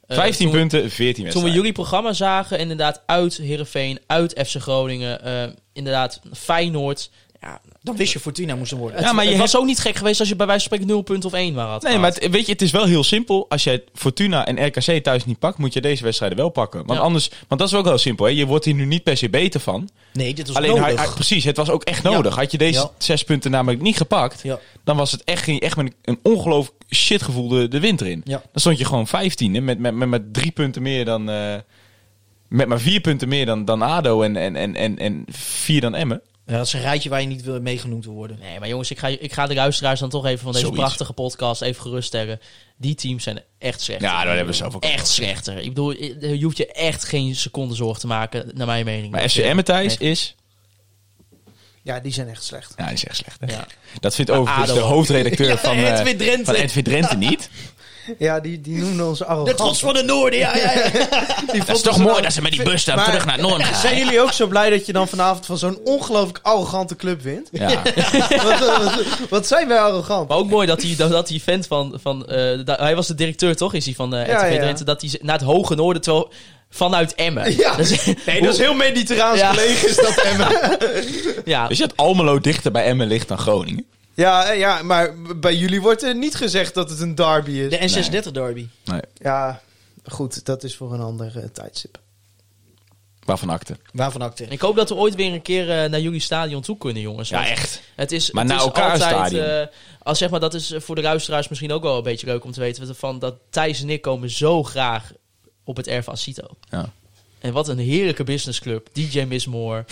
eh, 15 toen- punten, 14 Toen we wedstrijden. jullie programma zagen, inderdaad uit Heerenveen, uit FC Groningen, eh, inderdaad Feyenoord. Ja, Dan wist je Fortuna moest hem worden. Ja, maar je het hebt- was ook niet gek geweest als je bij wijze van spreken 0 punten of 1 maar had. Nee, maar het- weet je, het is wel heel simpel. Als jij Fortuna en RKC thuis niet pakt, moet je deze wedstrijden wel pakken. Want Ja. anders, want dat is ook wel simpel. Hè? Je wordt hier nu niet per se beter van. Nee, dit was Alleen, nodig. hij, hij- precies, het was ook echt nodig. Had je deze Ja. zes punten namelijk niet gepakt, Ja. dan was het echt, ging je echt met een ongelooflijk shitgevoel de, de winter in. Ja. Dan stond je gewoon 15 met, met, met, met drie punten meer dan. eh, met maar vier punten meer dan, dan Ado en, en, en, en, en vier dan Emmen. Ja, dat is een rijtje waar je niet wil- meegenoemd wil worden. Nee, maar jongens, ik ga, ik ga de luisteraars dan toch even van deze Zoiets. prachtige podcast even geruststellen. Die teams zijn echt slecht. Ja, dat hebben we zelf ook. Echt slechter. Ik bedoel, eh, je hoeft je echt geen seconde zorg te maken, naar mijn mening. Maar FC Emmen Thijs is. Ja, die zijn echt slecht. Ja, die is echt slecht. Hè? Ja. Dat vindt overigens ADO de ook. hoofdredacteur van, eh, Edwin Drenthe. van Edwin Drenthe niet. Ja, die, die noemden ons De arrogant. trots van de Noorden, ja, ja, ja. Dat is toch mooi dat ze met die bus dan Maar- terug naar het noorden gaan. Zijn jullie ook zo blij dat je dan vanavond van zo'n ongelooflijk arrogante club wint? Ja. wat, wat, wat zijn wij arrogant? Maar ook mooi dat die, dat, dat die vent van... van eh, da- hij was de directeur, toch? Is hij van eh Ja, RTV ja. Drenthe? Dat hij naar het hoge noorden, terwijl vanuit Emmen. Ja. Dat is- Nee, dat is heel mediterraans Ja. gelegen is dat Emmen. ja. Is dat Almelo dichter bij Emmen ligt dan Groningen? Ja, eh, ja, maar bij jullie wordt er niet gezegd dat het een derby is. De N36 derby. Ja, goed, dat is voor een ander eh, tijdstip. Waarvan acte. Waarvan acte? En ik hoop dat we ooit weer een keer eh, naar jullie stadion toe kunnen, jongens. Ja, Want echt. Het is, Maar het naar is elkaar altijd, stadion. eh, als zeg maar, dat is voor de luisteraars misschien ook wel een beetje leuk om te weten. want Van, dat Thijs en ik komen zo graag op het erf Asito. Ja. En wat een heerlijke businessclub. DJ Miss Moore.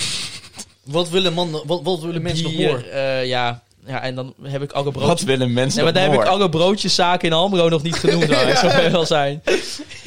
Wat willen, mannen, wat, wat willen mensen nog bier, horen? eh, ja. ja, en dan heb ik alle Wat broodjes... willen mensen Nee, nog maar daar heb ik horen? alle broodjeszaken in Almelo nog niet genoemd. waar Ik zou er wel zijn.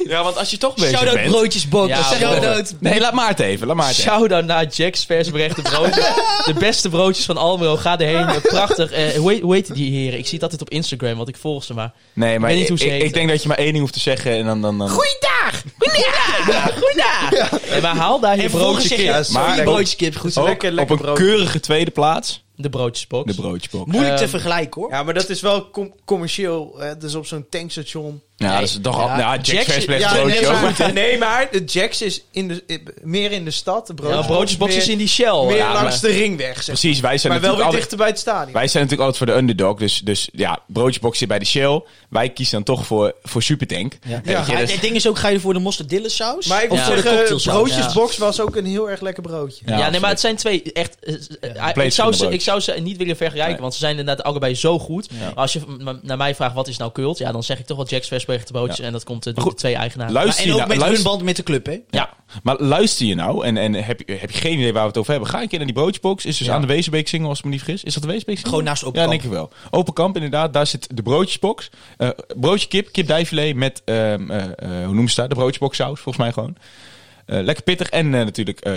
Ja, want als je toch bezig Shout-out bent... broodjesbank. Ja, Shout-out. Nee, laat Maarten even. Laat Maarten even. Shout-out naar Jack's versbrechte broodjes. De beste broodjes van Almelo. Ga erheen. Prachtig. Eh, hoe, heet, hoe heet die heren? Ik zie dat dit op Instagram, want ik volg ze maar. Nee, maar weet niet ik, hoe ze ik- ik heten. denk dat je maar één ding hoeft te zeggen en dan... dan, dan... Goeiedag! Goeiedag! Goeiedag! En Eh, maar haal daar je En vervolgens broodje zeg je, kip. Ja, maar maar- broodjeskip, goed zo. Ook lekker, lekker op een broodje. keurige tweede plaats. De broodjesbox. De broodjesbok. Moeilijk te Ehm, vergelijken hoor. Ja, maar dat is wel com- commercieel. Hè? Dus op zo'n tankstation. Ja, dat is toch al... nou, Ja. Ja, Jack's Jack's- Versbrecht Ja, broodje nee, ook. maar, nee, maar de Jacks is in de, i- meer in de stad. De ja, broodjesbox, broodjesbox meer, is in die shell. meer Ja, langs maar- de ringweg, zeg. Precies, wij zijn Maar wel natuurlijk weer altijd- dichter bij het stadion. Wij zijn natuurlijk altijd voor de underdog. Dus, dus ja, broodjebox zit bij de Shell. Wij kiezen dan toch voor, voor Supertank. Ja. Weet je, Ja, dus- het ding is ook, ga je voor de mosterdillensaus? maar ik of moet voor de zeggen, cocktailsaus? broodjesbox was ook een heel erg lekker broodje. Ja, nee, absoluut. maar het zijn twee echt... eh, eh, ik, zou verschillende ze, ik broodjes. zou ze niet willen vergelijken, Nee. want ze zijn inderdaad allebei zo goed. Maar Als je m- m- naar mij vraagt, wat is nou cult? Ja, dan zeg ik toch wel Jack's Versbrecht broodjes. En dat komt eh, door goed, de twee eigenaren. Ja, Luister en je ook nou, met hun luister, band met de club, hè? ja. Maar luister je nou en, en heb, je, heb je geen idee waar we het over hebben? Ga een keer naar die broodjebox. Is dus aan de Wezenbeek single, als ik me niet vergis. Is dat de Wezenbeek single? Gewoon naast Open Ja, Kamp. denk ik wel. Open kamp, inderdaad. Daar zit de broodjesbox. Eh, broodje kip, kip dijfilet met, ehm, eh, eh, hoe noemen ze dat? De broodjesbox saus, volgens mij gewoon. Eh, lekker pittig. En eh, natuurlijk eh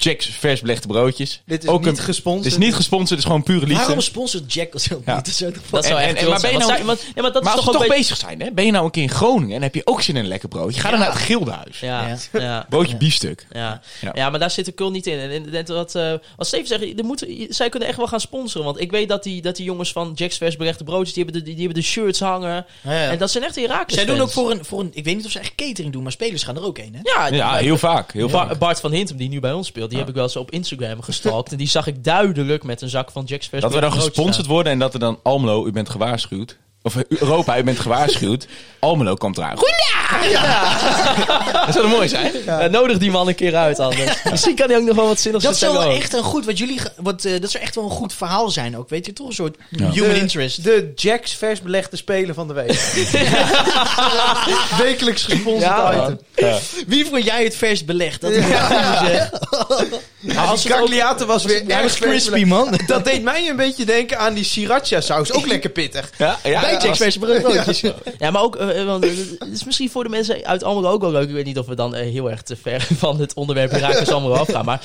Jack's vers belegde broodjes. Dit is Ook niet een- gesponsord. Het is niet gesponsord, het is gewoon pure liefde. Waarom sponsort Jack ons helemaal Ja. niet? Dat is ook toch dat zou En- echt en- en cult maar ben je zijn. nou- Want, zij- want- ja, maar dat maar is als we toch toch ook bezig zijn, hè? ben je nou een keer in Groningen en heb je ook zin in een lekker broodje? Ga dan naar het Gildenhuis. Ja, ja. Broodje biefstuk. Ja. Ja. Ja. maar daar zit de cult niet in. En, en, en dat, eh, als Steven zegt, er moet, zij kunnen echt wel gaan sponsoren. Want ik weet dat die, dat die jongens van Jack's Versberechte Broodjes, die hebben de, die, hebben de shirts hangen. Ja, ja. En dat zijn echt Irakers Zij doen ook voor een, voor een... Ik weet niet of ze echt catering doen, maar spelers gaan er ook heen, hè? Ja, Ja, heel vaak. Heel Ba- vaak. Bart van Hintem, die nu bij ons speelt, die heb ik wel eens op Instagram gestalkt. en die zag ik duidelijk met een zak van Jack's Dat we Versberechte dan Broodjes gesponsord worden en dat er dan Almelo, u bent gewaarschuwd. Of eh, Europa, u bent gewaarschuwd. Almelo komt eraan. Goedendag! Ja. Dat zou er mooi zijn. staan. Eh, nodig die man een keer uit anders. Misschien kan hij ook nog wel wat zinnigs Dat zou wel vertellen ook. echt een goed... Wat jullie, ge- wat, eh, dat zou echt wel een goed verhaal zijn ook, weet je? Toch een soort human de, interest. De Jacks vers belegde speler van de week. Wekelijks gesponsord Ja, man. item. Wie vond jij het vers belegd? Dat Ja, die Cagliate was weer Hij erg was vers crispy, belegd. man. Dat deed mij een beetje denken aan die sriracha saus. Ook lekker pittig. Ja, ja. Bij Jack's vers broodjes. Ja, maar ook, eh, eh, want eh, het is misschien voor de mensen uit Almelo ook wel leuk. Ik weet niet of we dan eh, heel erg te ver van het onderwerp Herakles Almelo afgaan. Maar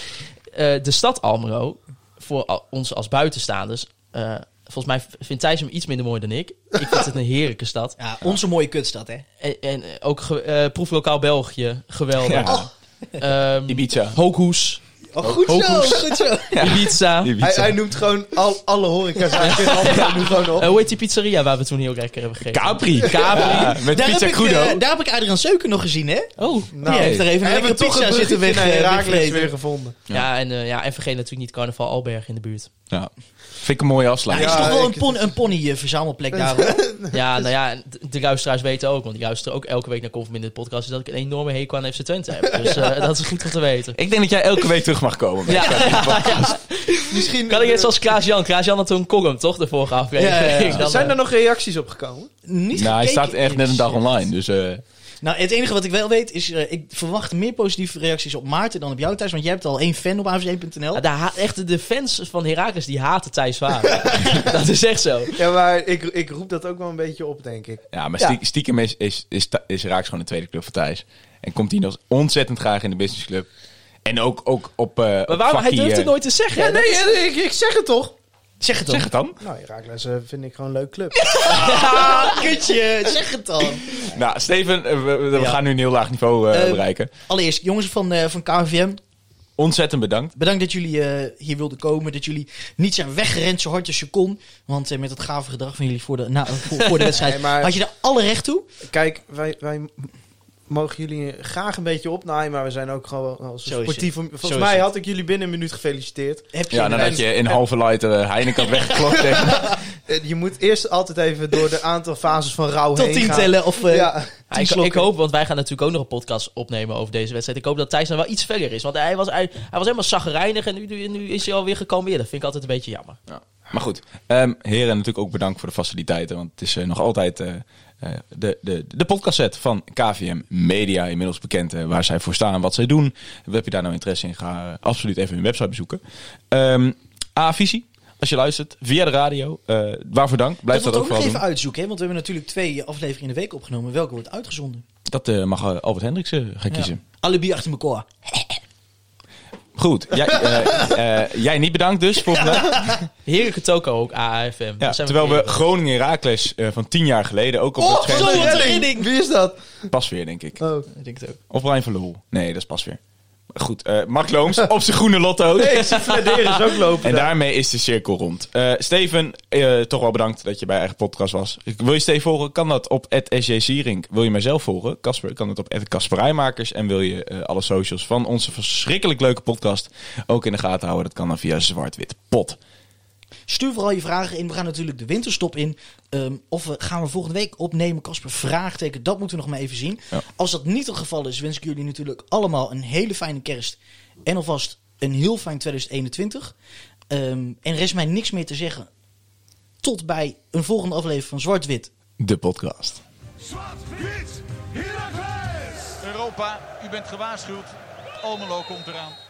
eh, de stad Almelo, voor al- ons als buitenstaanders... eh, volgens mij v- vindt Thijs hem iets minder mooi dan ik. Ik vind het een heerlijke stad. Ja, onze mooie kutstad, hè? En, en eh, ook ge- eh, proeflokaal België, geweldig. Ja. Ehm, Ibiza. Hoekhoes, Oh, goed Ook zo, goed. goed zo. Ibiza. Ibiza. Hij, hij noemt gewoon al, alle horecazaken. Hij noemt gewoon Eh, op. hoe heet die pizzeria waar we toen heel lekker hebben gegeten? Capri. Capri. Ja, met Daar heb, pizza ik, crudo. eh, daar heb ik Adriaan Seuken nog gezien, hè? Oh. Nou, Die heeft er even een hebben lekkere we toch pizza een zitten weg, bruggetje eh, naar Herakles wegvreten. weer gevonden. Ja, en, eh, ja, en vergeet natuurlijk niet Carnaval Alberg in de buurt. Ja. Vind ik een mooie Ja, afsluiting. is Ja, toch wel ik- een, pon, een pony eh, verzamelplek daar. hoor. Ja, nou ja, en de- de luisteraars weten ook, want die luisteren ook elke week naar Conform in de podcast, dat ik een enorme hekel aan FC Twente heb. Dus eh, dat is goed om te weten. Ik denk dat jij elke week terug mag komen. Ja, Misschien, kan ik net zoals Klaas-Jan. Klaas-Jan had toen een column, toch? De vorige aflevering. Ja, ja, ja. Dan, Zijn eh, er nog reacties op gekomen? Niet Nou, hij gekeken staat echt in net een dag shit. online. Dus eh, Nou, het enige wat ik wel weet is, eh, ik verwacht meer positieve reacties op Maarten dan op jou thuis. Want jij hebt al één fan op avc1.nl. ja, daar ha- echt de fans van Herakles die haten Thijs Varen. dat is echt zo. Ja, maar ik, ik roep dat ook wel een beetje op, denk ik. ja, maar stie- stiekem is, is, is, Tha- is Raaks gewoon een tweede club van Thijs. En komt hij nog ontzettend graag in de businessclub. En ook, ook op. eh Maar waarom? Hij durft het het nooit te zeggen. Ja, hè? nee, eh, ik, ik zeg het toch? Zeg het dan. eh, Zeg het dan. Nou, Herakles eh, vind ik gewoon een leuk club. Ah, kutje, zeg het dan. Nou, Steven, eh, we, we- we Ja. gaan nu een heel laag niveau eh, Eh, bereiken. Allereerst, jongens van, eh, van KVM, Ontzettend bedankt. bedankt dat jullie eh, hier wilden komen. Dat jullie niet zijn weggerend zo hard als je kon. Want eh, met dat gave gedrag van jullie voor de, na, voor, voor de wedstrijd Nee, maar- had je daar alle recht toe. Kijk, wij, wij mogen jullie graag een beetje opnaaien, maar we zijn ook gewoon als Zo is sportief. Volgens is mij het. had ik jullie binnen een minuut gefeliciteerd. Heb je Ja, een- nadat je in halve light eh, Heineken had weggeklopt. tegen- Eh, Je moet eerst altijd even door de aantal fases van rouw tot heen tien gaan. tellen of eh, Ja. Ja, ik, ik slokken. hoop, want wij gaan natuurlijk ook nog een podcast opnemen over deze wedstrijd. Ik hoop dat Thijs dan wel iets verder is. Want hij was, hij, hij was helemaal zagrijnig en nu, nu, nu is hij alweer gekalmeerd. Dat vind ik altijd een beetje jammer. Ja. Maar goed, Ehm heren natuurlijk ook bedankt voor de faciliteiten. Want het is eh, nog altijd eh, eh, de, de, de podcastset van KVM Media. Inmiddels bekend eh, waar zij voor staan en wat zij doen. Heb je daar nou interesse in, ga eh, absoluut even hun website bezoeken. Ehm A-visie, als je luistert, via de radio. Eh, waarvoor dank, blijf dat, Dat moeten we ook ook nog vooral even doen. uitzoeken, hè? want we hebben natuurlijk twee afleveringen in de week opgenomen. Welke wordt uitgezonden? Dat eh, mag eh, Albert Hendriksen gaan kiezen. Alibi achter elkaar. Goed, jij, eh, eh, jij niet bedankt dus voor vandaag. Heerlijke toko ook, AAFM. Ja, Daar zijn terwijl we Oh, creatief. Groningen Herakles eh, van tien jaar geleden ook Oh, op dat scherm... wat een redding! Wie is dat? Pas weer, denk ik. Oh. Ik denk het ook. Of Brian van Loel. Nee, dat is pas weer. Goed, eh, Mark Looms op zijn groene lotto. Flederen is ook lopen. En daarmee is de cirkel rond. Eh, Steven, eh, toch wel bedankt dat je bij eigen podcast was. Ik- Wil je Steven volgen? Kan dat op @sjsierink. Wil je mijzelf volgen? Casper, kan dat op @casperijmakers. En wil je eh, alle socials van onze verschrikkelijk leuke podcast ook in de gaten houden? Dat kan dan via Zwart-Wit Pot. Stuur vooral je vragen in. We gaan natuurlijk de winterstop in. Ehm, of we gaan we volgende week opnemen, Casper? Vraagteken, dat moeten we nog maar even zien. Ja. Als dat niet het geval is, wens ik jullie natuurlijk allemaal een hele fijne kerst. En alvast een heel fijn 2021. Ehm, en er is mij niks meer te zeggen. Tot bij een volgende aflevering van Zwart-Wit. De podcast. Zwart-wit, Heracles! Europa, u bent gewaarschuwd. Almelo komt eraan.